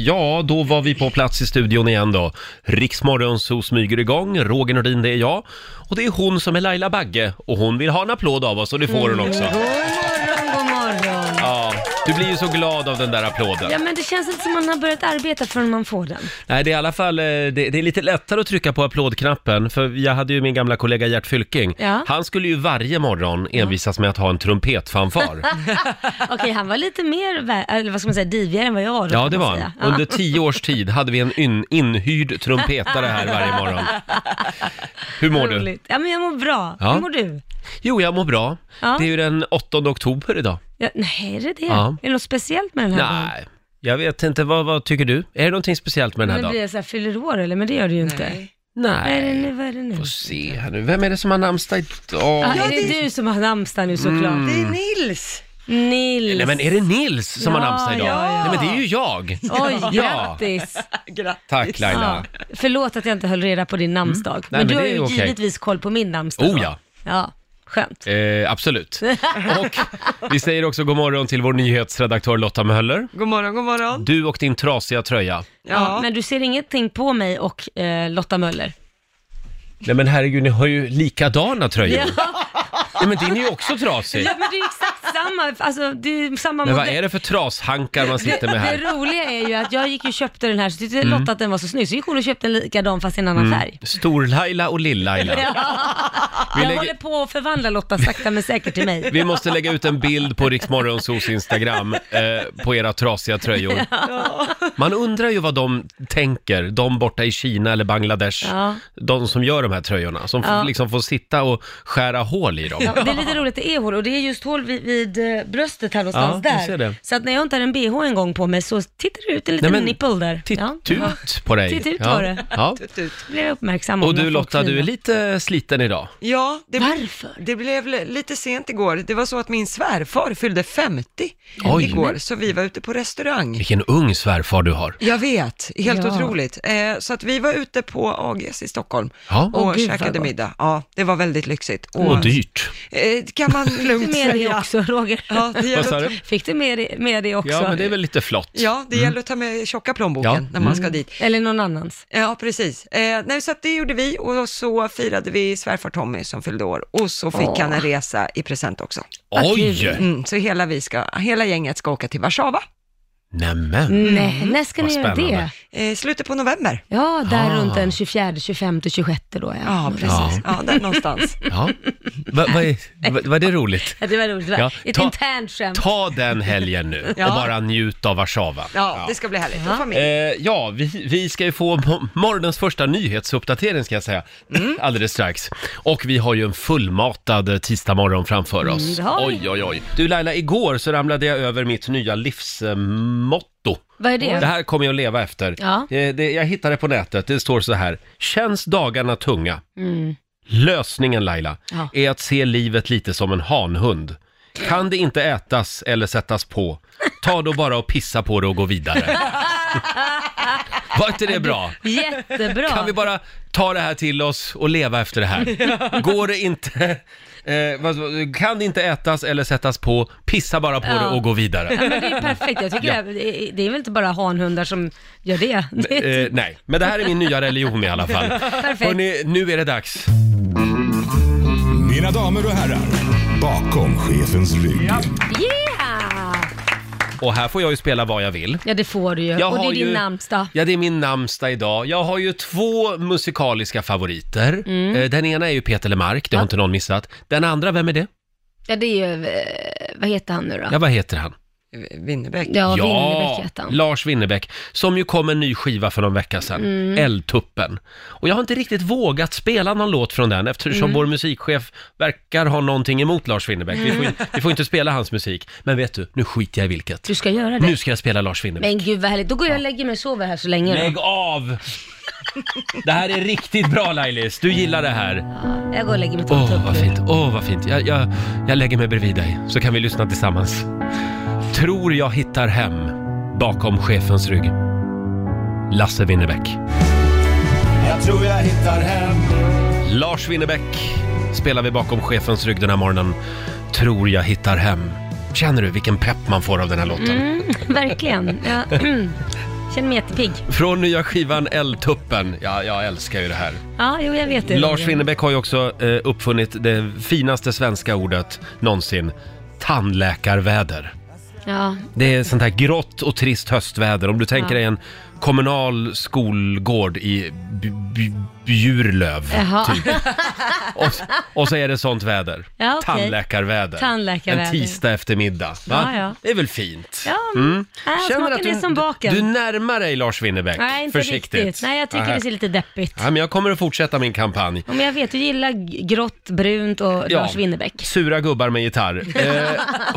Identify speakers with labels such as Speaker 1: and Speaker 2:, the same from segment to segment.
Speaker 1: Ja, då var vi på plats i studion igen då. Riksmorgonzoo smyger igång, Roger Nordin det är jag. Och det är hon som är Laila Bagge och hon vill ha en applåd av oss och det får hon också.
Speaker 2: Mm. God morgon, god morgon.
Speaker 1: Ja, du blir ju så glad av den där applåden.
Speaker 2: Ja, men det känns inte som man har börjat arbeta förrän man får den.
Speaker 1: Nej, det är i alla fall eh, det, det är lite lättare att trycka på applådknappen för jag hade ju min gamla kollega Gert Fylking.
Speaker 2: Ja.
Speaker 1: Han skulle ju varje morgon envisas med att ha en trumpetfanfar.
Speaker 2: Okej, han var lite mer, vä- eller vad ska man säga, divigare än vad jag var då,
Speaker 1: Ja,
Speaker 2: kan
Speaker 1: det
Speaker 2: man
Speaker 1: var han.
Speaker 2: säga. Ja.
Speaker 1: Under tio års tid hade vi en in, inhyrd trumpetare här varje morgon. Hur mår du?
Speaker 2: Roligt. Ja, men jag mår bra.
Speaker 1: Ja.
Speaker 2: Hur mår du?
Speaker 1: Jo, jag mår bra.
Speaker 2: Ja.
Speaker 1: Det är ju den 8 oktober idag.
Speaker 2: Ja, nej, är det det?
Speaker 1: Ja.
Speaker 2: Är det något speciellt med den här dagen?
Speaker 1: Nej, jag vet inte. Vad, vad tycker du? Är det någonting speciellt med den här
Speaker 2: Men blir
Speaker 1: dagen?
Speaker 2: det så här, fyller år eller? Men det gör det ju inte. Vad är det nu?
Speaker 1: Nej.
Speaker 2: Vad är det nu?
Speaker 1: Får se här nu. Vem är det som har namnsdag idag?
Speaker 2: Ja, är det du som har namnsdag nu såklart?
Speaker 3: Det är Nils!
Speaker 2: Nils.
Speaker 1: Mm. Nej men är det Nils som har
Speaker 2: Ja,
Speaker 1: namnsdag idag?
Speaker 2: ja, ja.
Speaker 1: Nej men det är ju jag!
Speaker 2: Oj,
Speaker 1: Ja.
Speaker 2: grattis!
Speaker 3: Grattis!
Speaker 1: Tack Laila. Mm.
Speaker 2: Ja. Förlåt att jag inte höll reda på din namnsdag. men,
Speaker 1: men
Speaker 2: du har
Speaker 1: det är
Speaker 2: ju
Speaker 1: okej.
Speaker 2: givetvis koll på min namnsdag.
Speaker 1: Oh,
Speaker 2: då.
Speaker 1: ja.
Speaker 2: Ja, skönt.
Speaker 1: Eh, absolut. Och vi säger också god morgon till vår nyhetsredaktör Lotta Möller.
Speaker 3: God morgon, god morgon.
Speaker 1: Du och din trasiga tröja.
Speaker 2: Ja. men du ser ingenting på mig och eh, Lotta Möller.
Speaker 1: Nej men herregud, ni har ju likadana tröjor.
Speaker 2: Ja,
Speaker 1: Nej men din är ju också trasig.
Speaker 2: men det är ju exakt samma, alltså det är ju samma
Speaker 1: Men vad är det för trashankar man sitter med här? Mm.
Speaker 2: Det roliga är ju att jag gick ju och köpte den här, så tyckte Lotta att den var så snygg, så gick hon och köpte en likadan fast i en annan färg.
Speaker 1: Stor-Laila och Lill-Laila. Vi,
Speaker 2: Jag
Speaker 1: lägger-
Speaker 2: håller på att förvandla Lotta sakta men säkert till mig.
Speaker 1: vi måste lägga ut en bild på Riksmorgonsos Instagram eh, på era trasiga tröjor. Man undrar ju vad de tänker, de borta i Kina eller Bangladesh,
Speaker 2: Ja.
Speaker 1: de som gör de här tröjorna, som f-
Speaker 2: Ja.
Speaker 1: liksom får sitta och skära hål i dem.
Speaker 2: Ja, det är lite roligt, det är hål och det är just hål vid, vid eh, bröstet här någonstans
Speaker 1: Ja, jag
Speaker 2: där.
Speaker 1: ser det.
Speaker 2: Så att när jag inte har en bh en gång på mig så tittar det ut en liten
Speaker 1: Nej, men
Speaker 2: nipple där.
Speaker 1: Titt
Speaker 2: Ja.
Speaker 1: ut på dig.
Speaker 2: Titt ut
Speaker 1: ja.
Speaker 2: var det.
Speaker 1: Ja.
Speaker 3: Tut, tut.
Speaker 2: Blev jag uppmärksam
Speaker 1: Och
Speaker 2: om
Speaker 1: du
Speaker 2: när folk
Speaker 1: Lotta, du är
Speaker 2: flinar.
Speaker 1: lite sliten idag.
Speaker 3: Ja, det,
Speaker 2: Varför?
Speaker 3: det blev li- lite sent igår. Det var så att min svärfar fyllde 50
Speaker 1: Oj.
Speaker 3: igår, så vi var ute på restaurang.
Speaker 1: Vilken ung svärfar du har.
Speaker 3: Jag vet, helt
Speaker 2: Ja.
Speaker 3: otroligt. Eh, så att vi var ute på AGs i Stockholm
Speaker 1: Ja.
Speaker 3: och
Speaker 2: Åh, gud, vad
Speaker 3: käkade
Speaker 2: gott.
Speaker 3: middag. Ja, det var väldigt lyxigt.
Speaker 1: Och dyrt.
Speaker 3: eh, kan man lugnt
Speaker 2: Fick du med dig
Speaker 3: säga.
Speaker 2: också Roger?
Speaker 3: Ja, det
Speaker 1: Vad
Speaker 3: gäller,
Speaker 1: sa
Speaker 3: att-
Speaker 1: du?
Speaker 2: Fick du med dig, med dig också? Mm.
Speaker 1: Ja, men det är väl lite flott.
Speaker 3: ja, det gäller att ta med tjocka plånboken
Speaker 1: Mm. Ja. Mm.
Speaker 3: när man ska dit.
Speaker 2: Eller någon annans?
Speaker 3: Ja, precis. Eh, nej, så att det gjorde vi och så firade vi svärfar Tommy som fyllde år och så fick
Speaker 2: Åh.
Speaker 3: han en resa i present också.
Speaker 1: Oj!
Speaker 3: Mm, så hela, vi ska, hela gänget ska åka till Warszawa
Speaker 1: Nämen!
Speaker 2: Mm. Nej, Eh, när ska
Speaker 1: Mm, Vad
Speaker 2: ni göra
Speaker 1: spännande.
Speaker 2: det?
Speaker 3: eh, slutet på november.
Speaker 2: Ja, där
Speaker 1: Ah.
Speaker 2: runt den 24, 25, 26 då ja.
Speaker 3: Ja, precis. Ja, där någonstans.
Speaker 1: Ja. Va- va- va- Var det roligt?
Speaker 2: Ja, Det var roligt, det var
Speaker 1: Ja,
Speaker 2: ett
Speaker 1: ta-
Speaker 2: internt skämt.
Speaker 1: Ta den helgen nu
Speaker 3: Ja.
Speaker 1: och bara njut av Warszawa.
Speaker 3: Ja, det ska bli härligt. Och
Speaker 1: Eh,
Speaker 3: familj.
Speaker 1: ja, vi, vi ska ju få mo- morgonens första nyhetsuppdatering ska jag säga,
Speaker 2: Mm.
Speaker 1: alldeles strax. Och vi har ju en fullmatad tisdag morgon framför oss.
Speaker 2: Mm, det har vi.
Speaker 1: oj, oj, oj. Du Laila, igår så ramlade jag över mitt nya livsmotto.
Speaker 2: Vad är det?
Speaker 1: Det här kommer jag att leva efter.
Speaker 2: Ja.
Speaker 1: Eh, det, jag hittade det på nätet, det står så här. Känns dagarna tunga?
Speaker 2: Mm.
Speaker 1: Lösningen Laila,
Speaker 2: Ja.
Speaker 1: är att se livet lite som en hanhund. Kan det inte ätas eller sättas på, ta då bara och pissa på det och gå vidare. Var inte det bra?
Speaker 2: Jättebra.
Speaker 1: Kan vi bara ta det här till oss och leva efter det här? Går det inte... Eh, vad, vad- kan det inte ätas eller sättas på, pissa bara på
Speaker 2: Ja.
Speaker 1: det och gå vidare.
Speaker 2: Ja, men det är perfekt. Jag tycker
Speaker 1: Ja.
Speaker 2: det, är, det är väl inte bara hanhundar som gör det. det är
Speaker 1: Eh, nej, men det här är min nya religion i alla fall.
Speaker 2: Perfekt.
Speaker 1: Hörrni, nu är det dags.
Speaker 4: Mina damer och herrar, bakom chefens rygg.
Speaker 2: Yeah!
Speaker 1: Och här får jag ju spela vad jag vill.
Speaker 2: Ja, det får du ju.
Speaker 1: Jag
Speaker 2: och det
Speaker 1: har
Speaker 2: är din
Speaker 1: ju-
Speaker 2: namnsdag.
Speaker 1: Ja, det är min namnsdag idag. Jag har ju två musikaliska favoriter.
Speaker 2: Mm.
Speaker 1: Eh, Den ena är ju Peter Lemark, det har inte någon missat. Den andra, vem är det?
Speaker 2: Ja, det är ju, eh, vad heter han nu då?
Speaker 1: Ja, vad heter han?
Speaker 3: Winnerbäck.
Speaker 2: Ja, Winnerbäck heter han.
Speaker 1: Lars Winnerbäck, som ju kom en ny skiva för någon vecka sedan,
Speaker 2: Mm.
Speaker 1: Eldtuppen. Och jag har inte riktigt vågat spela någon låt från den eftersom
Speaker 2: Mm.
Speaker 1: vår musikchef verkar ha någonting emot Lars Winnerbäck. Vi får, ju- vi får inte spela hans musik. Men vet du, nu skiter jag i vilket.
Speaker 2: Du ska göra det.
Speaker 1: Nu ska jag spela Lars Winnerbäck.
Speaker 2: Men gud vad härligt. Då går jag och lägger mig och sover här så länge
Speaker 1: Lägg
Speaker 2: då.
Speaker 1: av! Det här är riktigt bra Lailis, du gillar det här.
Speaker 2: Ja, Jag går och lägger mig och tar
Speaker 1: Åh
Speaker 2: en tupp
Speaker 1: vad
Speaker 2: nu.
Speaker 1: fint, åh vad fint. Jag, jag, jag lägger mig bredvid dig så kan vi lyssna tillsammans. Tror jag hittar hem bakom chefens rygg. Lasse Winnerbäck.
Speaker 4: Jag tror jag hittar hem.
Speaker 1: Lars Winnerbäck spelar vi bakom chefens rygg den här morgonen. Tror jag hittar hem. Känner du vilken pepp man får av den här låten?
Speaker 2: Mm, verkligen. Ja. Känner mig jättepigg.
Speaker 1: Från nya skivan Eldtuppen. Ja, jag älskar ju det här.
Speaker 2: Ja, jo jag vet det.
Speaker 1: Lars Winnerbäck har ju också eh, uppfunnit det finaste svenska ordet någonsin. Tandläkarväder.
Speaker 2: Ja, Äh,
Speaker 1: Det är sånt här grått och trist höstväder. Om du tänker
Speaker 2: Ja.
Speaker 1: dig en kommunal skolgård i B- B- Bjurlöv.
Speaker 2: jaha.
Speaker 4: Typ.
Speaker 1: Och, och så är det sånt väder.
Speaker 2: Ja, okej.
Speaker 1: Tandläkarväder.
Speaker 2: Tandläkarväder.
Speaker 1: En tisdag eftermiddag. Va?
Speaker 2: Ja, ja.
Speaker 1: Det är väl fint? Mm.
Speaker 2: Ja, äh, smaken är som baken.
Speaker 1: Du närmar dig Lars Winnerbäck.
Speaker 2: Nej, inte
Speaker 1: Försiktigt.
Speaker 2: riktigt. Nej, jag tycker
Speaker 1: Nej.
Speaker 2: det ser lite deppigt.
Speaker 1: Ja, men jag kommer att fortsätta min kampanj.
Speaker 2: Ja, men jag vet, du gillar g- grått, brunt och Lars Winnerbäck.
Speaker 1: Sura gubbar med gitarr. Eh,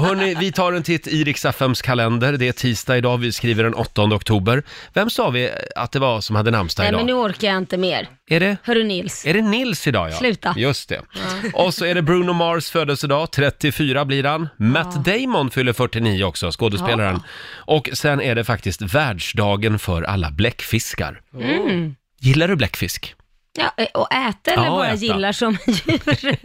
Speaker 1: hörni, vi tar en titt i Riksaffems kalender. Det är tisdag idag, vi skriver den 8 oktober. Vem sa vi att det var som hade namnsdag
Speaker 2: Nej,
Speaker 1: idag?
Speaker 2: men nu orkar jag inte mer.
Speaker 1: Är det?
Speaker 2: Hörru Nils.
Speaker 1: Är det Nils idag ja?
Speaker 2: Sluta.
Speaker 1: Just det. Och så är det Bruno Mars födelsedag, 34 blir han. Matt Damon fyller 49 också, skådespelaren. Och sen är det faktiskt världsdagen för alla bläckfiskar.
Speaker 2: Mm.
Speaker 1: Gillar du bläckfisk?
Speaker 2: Ja, eh, och äta eller
Speaker 1: Ja,
Speaker 2: bara
Speaker 1: äta.
Speaker 2: gillar som djur?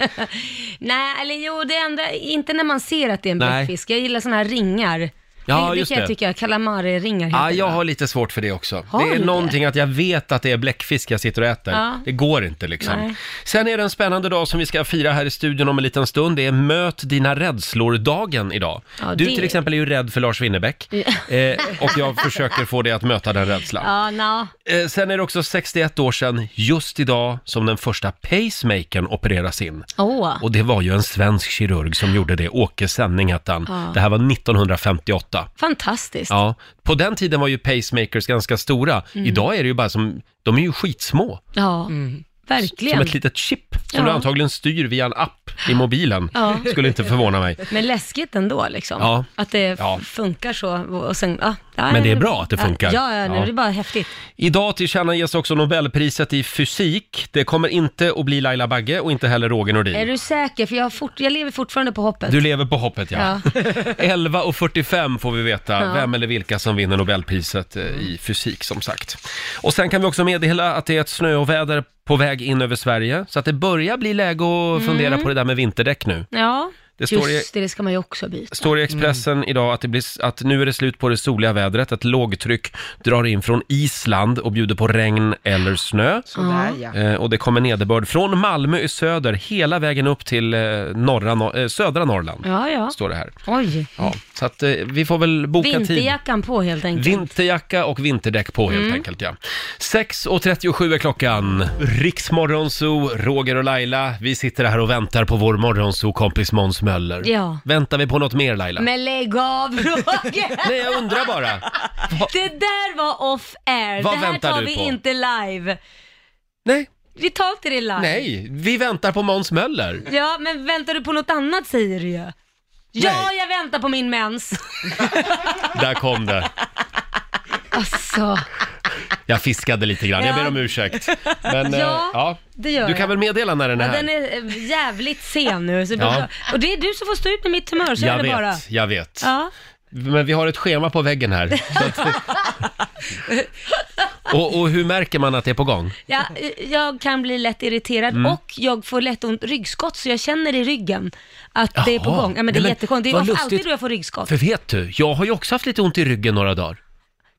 Speaker 2: Nej, eller jo, det enda, inte när man ser att det är en
Speaker 1: Nej.
Speaker 2: bläckfisk. Jag gillar sådana här ringar.
Speaker 1: Ja,
Speaker 2: det, det
Speaker 1: just
Speaker 2: kan jag
Speaker 1: det.
Speaker 2: tycka, calamari-ringar heter
Speaker 1: Ja,
Speaker 2: det,
Speaker 1: Ah, jag
Speaker 2: va?
Speaker 1: har lite svårt för det också.
Speaker 2: Har
Speaker 1: det
Speaker 2: du
Speaker 1: är
Speaker 2: det?
Speaker 1: någonting att jag vet att det är bläckfisk jag sitter och äter.
Speaker 2: Ja.
Speaker 1: Det går inte liksom.
Speaker 2: Nej.
Speaker 1: Sen är det en spännande dag som vi ska fira här i studion om en liten stund. Det är möt dina rädslor-dagen idag.
Speaker 2: Ja,
Speaker 1: du
Speaker 2: det-
Speaker 1: till exempel är ju rädd för Lars Winnerbäck eh, och jag försöker få dig att möta den rädslan.
Speaker 2: Ja, no.
Speaker 1: Eh, sen är det också 61 år sedan, just idag, som den första pacemakern opereras in.
Speaker 2: Åh.
Speaker 1: Och det var ju en svensk kirurg som gjorde det, Åke Senning hette han.
Speaker 2: Ja.
Speaker 1: Det här var 1958.
Speaker 2: Fantastiskt.
Speaker 1: Ja, på den tiden var ju pacemakers ganska stora.
Speaker 2: Mm.
Speaker 1: Idag är det ju bara som, de är ju skitsmå.
Speaker 2: Ja,
Speaker 1: Som
Speaker 2: verkligen.
Speaker 1: ett litet chip Mm. som
Speaker 2: Ja.
Speaker 1: du antagligen styr via en app i mobilen.
Speaker 2: Ja.
Speaker 1: Skulle inte förvåna mig.
Speaker 2: Men läskigt ändå liksom.
Speaker 1: Ja.
Speaker 2: Att det
Speaker 1: Ja.
Speaker 2: funkar så och sen, ja. ja,
Speaker 1: Men det är bra att det funkar.
Speaker 2: Ja, ja,
Speaker 1: Ja.
Speaker 2: ja. det är bara häftigt.
Speaker 1: Idag tillkännages också Nobelpriset i fysik. Det kommer inte att bli Laila Bagge och inte heller Roger
Speaker 2: Är
Speaker 1: Nordin.
Speaker 2: du säker? För jag, har fort, jag lever fortfarande på hoppet.
Speaker 1: Du lever på hoppet ja.
Speaker 2: Ja.
Speaker 1: 11.45 får vi veta
Speaker 2: Ja.
Speaker 1: vem eller vilka som vinner Nobelpriset eh, i fysik som sagt. Och sen kan vi också meddela att det är ett snöoväder på väg in över Sverige. Så att det börjar bli läge att fundera på det där med vinterdäck nu.
Speaker 2: Mm. Ja,
Speaker 1: Det
Speaker 2: just
Speaker 1: står i-
Speaker 2: det, det ska man ju också byta.
Speaker 1: Står i Expressen
Speaker 2: Mm.
Speaker 1: idag att, det blir, att nu är det slut på det soliga vädret. Ett lågtryck drar in från Island och bjuder på regn eller snö.
Speaker 3: Sådär ja.
Speaker 1: Eh, och det kommer nederbörd från Malmö i söder hela vägen upp till eh, norra, Nor- eh, södra Norrland.
Speaker 2: Ja, ja.
Speaker 1: Står det här.
Speaker 2: Oj.
Speaker 1: Ja, så att eh, vi får väl boka tid.
Speaker 2: Vinterjackan på helt enkelt.
Speaker 1: Vinterjacka och vinterdäck på
Speaker 2: Mm.
Speaker 1: helt enkelt ja. 6.37 är klockan. Riksmorgonzoo, Roger och Laila. Vi sitter här och väntar på vår morgonzoo-kompis Måns Möller.
Speaker 2: Ja.
Speaker 1: Väntar vi på något mer Laila?
Speaker 2: Men lägg av Roger!
Speaker 1: Nej, jag undrar bara.
Speaker 2: Det där var off air.
Speaker 1: Vad
Speaker 2: det här
Speaker 1: väntar
Speaker 2: tar
Speaker 1: du
Speaker 2: vi
Speaker 1: på?
Speaker 2: inte live.
Speaker 1: Nej,
Speaker 2: Vi tar inte det live.
Speaker 1: nej, vi väntar på Måns Möller.
Speaker 2: Ja, men väntar du på något annat säger du ju. Ja,
Speaker 1: Nej.
Speaker 2: jag väntar på min mens.
Speaker 1: Där kom det.
Speaker 2: Alltså,
Speaker 1: Jag fiskade lite grann, jag
Speaker 2: Ja.
Speaker 1: ber om ursäkt. Men, eh,
Speaker 2: Ja, det gör
Speaker 1: Du kan
Speaker 2: jag.
Speaker 1: väl meddela när den är
Speaker 2: ja,
Speaker 1: här?
Speaker 2: den är eh, jävligt sen nu. Så det
Speaker 1: Ja.
Speaker 2: blir bra. Och det är du som får stå ut med mitt humör, så
Speaker 1: jag
Speaker 2: är det
Speaker 1: vet,
Speaker 2: bara.
Speaker 1: jag vet.
Speaker 2: Ja.
Speaker 1: Men vi har ett schema på väggen här. Så att... och, och hur märker man att det är på gång?
Speaker 2: Ja, eh, jag kan bli lätt irriterad
Speaker 1: Mm.
Speaker 2: och jag får lätt ont ryggskott så jag känner i ryggen att det är på
Speaker 1: Jaha.
Speaker 2: gång. Ja, men
Speaker 1: Nej,
Speaker 2: det är
Speaker 1: men
Speaker 2: jättekonstigt. Det
Speaker 1: vad
Speaker 2: är
Speaker 1: lustigt.
Speaker 2: alltid då jag får ryggskott.
Speaker 1: För vet du, jag har ju också haft lite ont i ryggen några dagar.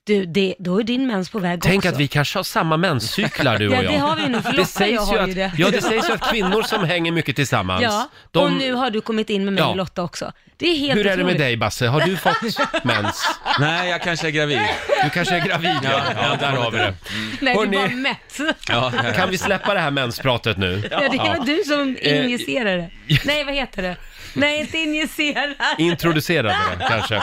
Speaker 2: Du, det, då är din mens på väg
Speaker 1: Tänk
Speaker 2: också.
Speaker 1: att vi kanske har samma menscyklar du och
Speaker 2: Ja,
Speaker 1: jag.
Speaker 2: det har vi nog. För Lotta jag har ju
Speaker 1: att,
Speaker 2: det.
Speaker 1: ja, det sägs ju att kvinnor som hänger mycket tillsammans,
Speaker 2: Ja,
Speaker 1: de-
Speaker 2: och nu har du kommit in med mig
Speaker 1: Ja.
Speaker 2: och Lotta också. Det är helt
Speaker 1: Hur är det med
Speaker 2: otroligt.
Speaker 1: dig Basse? Har du fått mens?
Speaker 5: Nej, jag kanske är gravid.
Speaker 1: Du kanske är gravid? Ja, ja där har vi det.
Speaker 2: Nej,
Speaker 1: Hörrni.
Speaker 2: du är bara mätt.
Speaker 5: Ja,
Speaker 1: Kan vi släppa det här menspratet nu?
Speaker 2: Ja, det var du som
Speaker 1: Eh,
Speaker 2: injicerade. Nej, vad heter det? Nej, inte injicerar.
Speaker 1: Introducerade det kanske.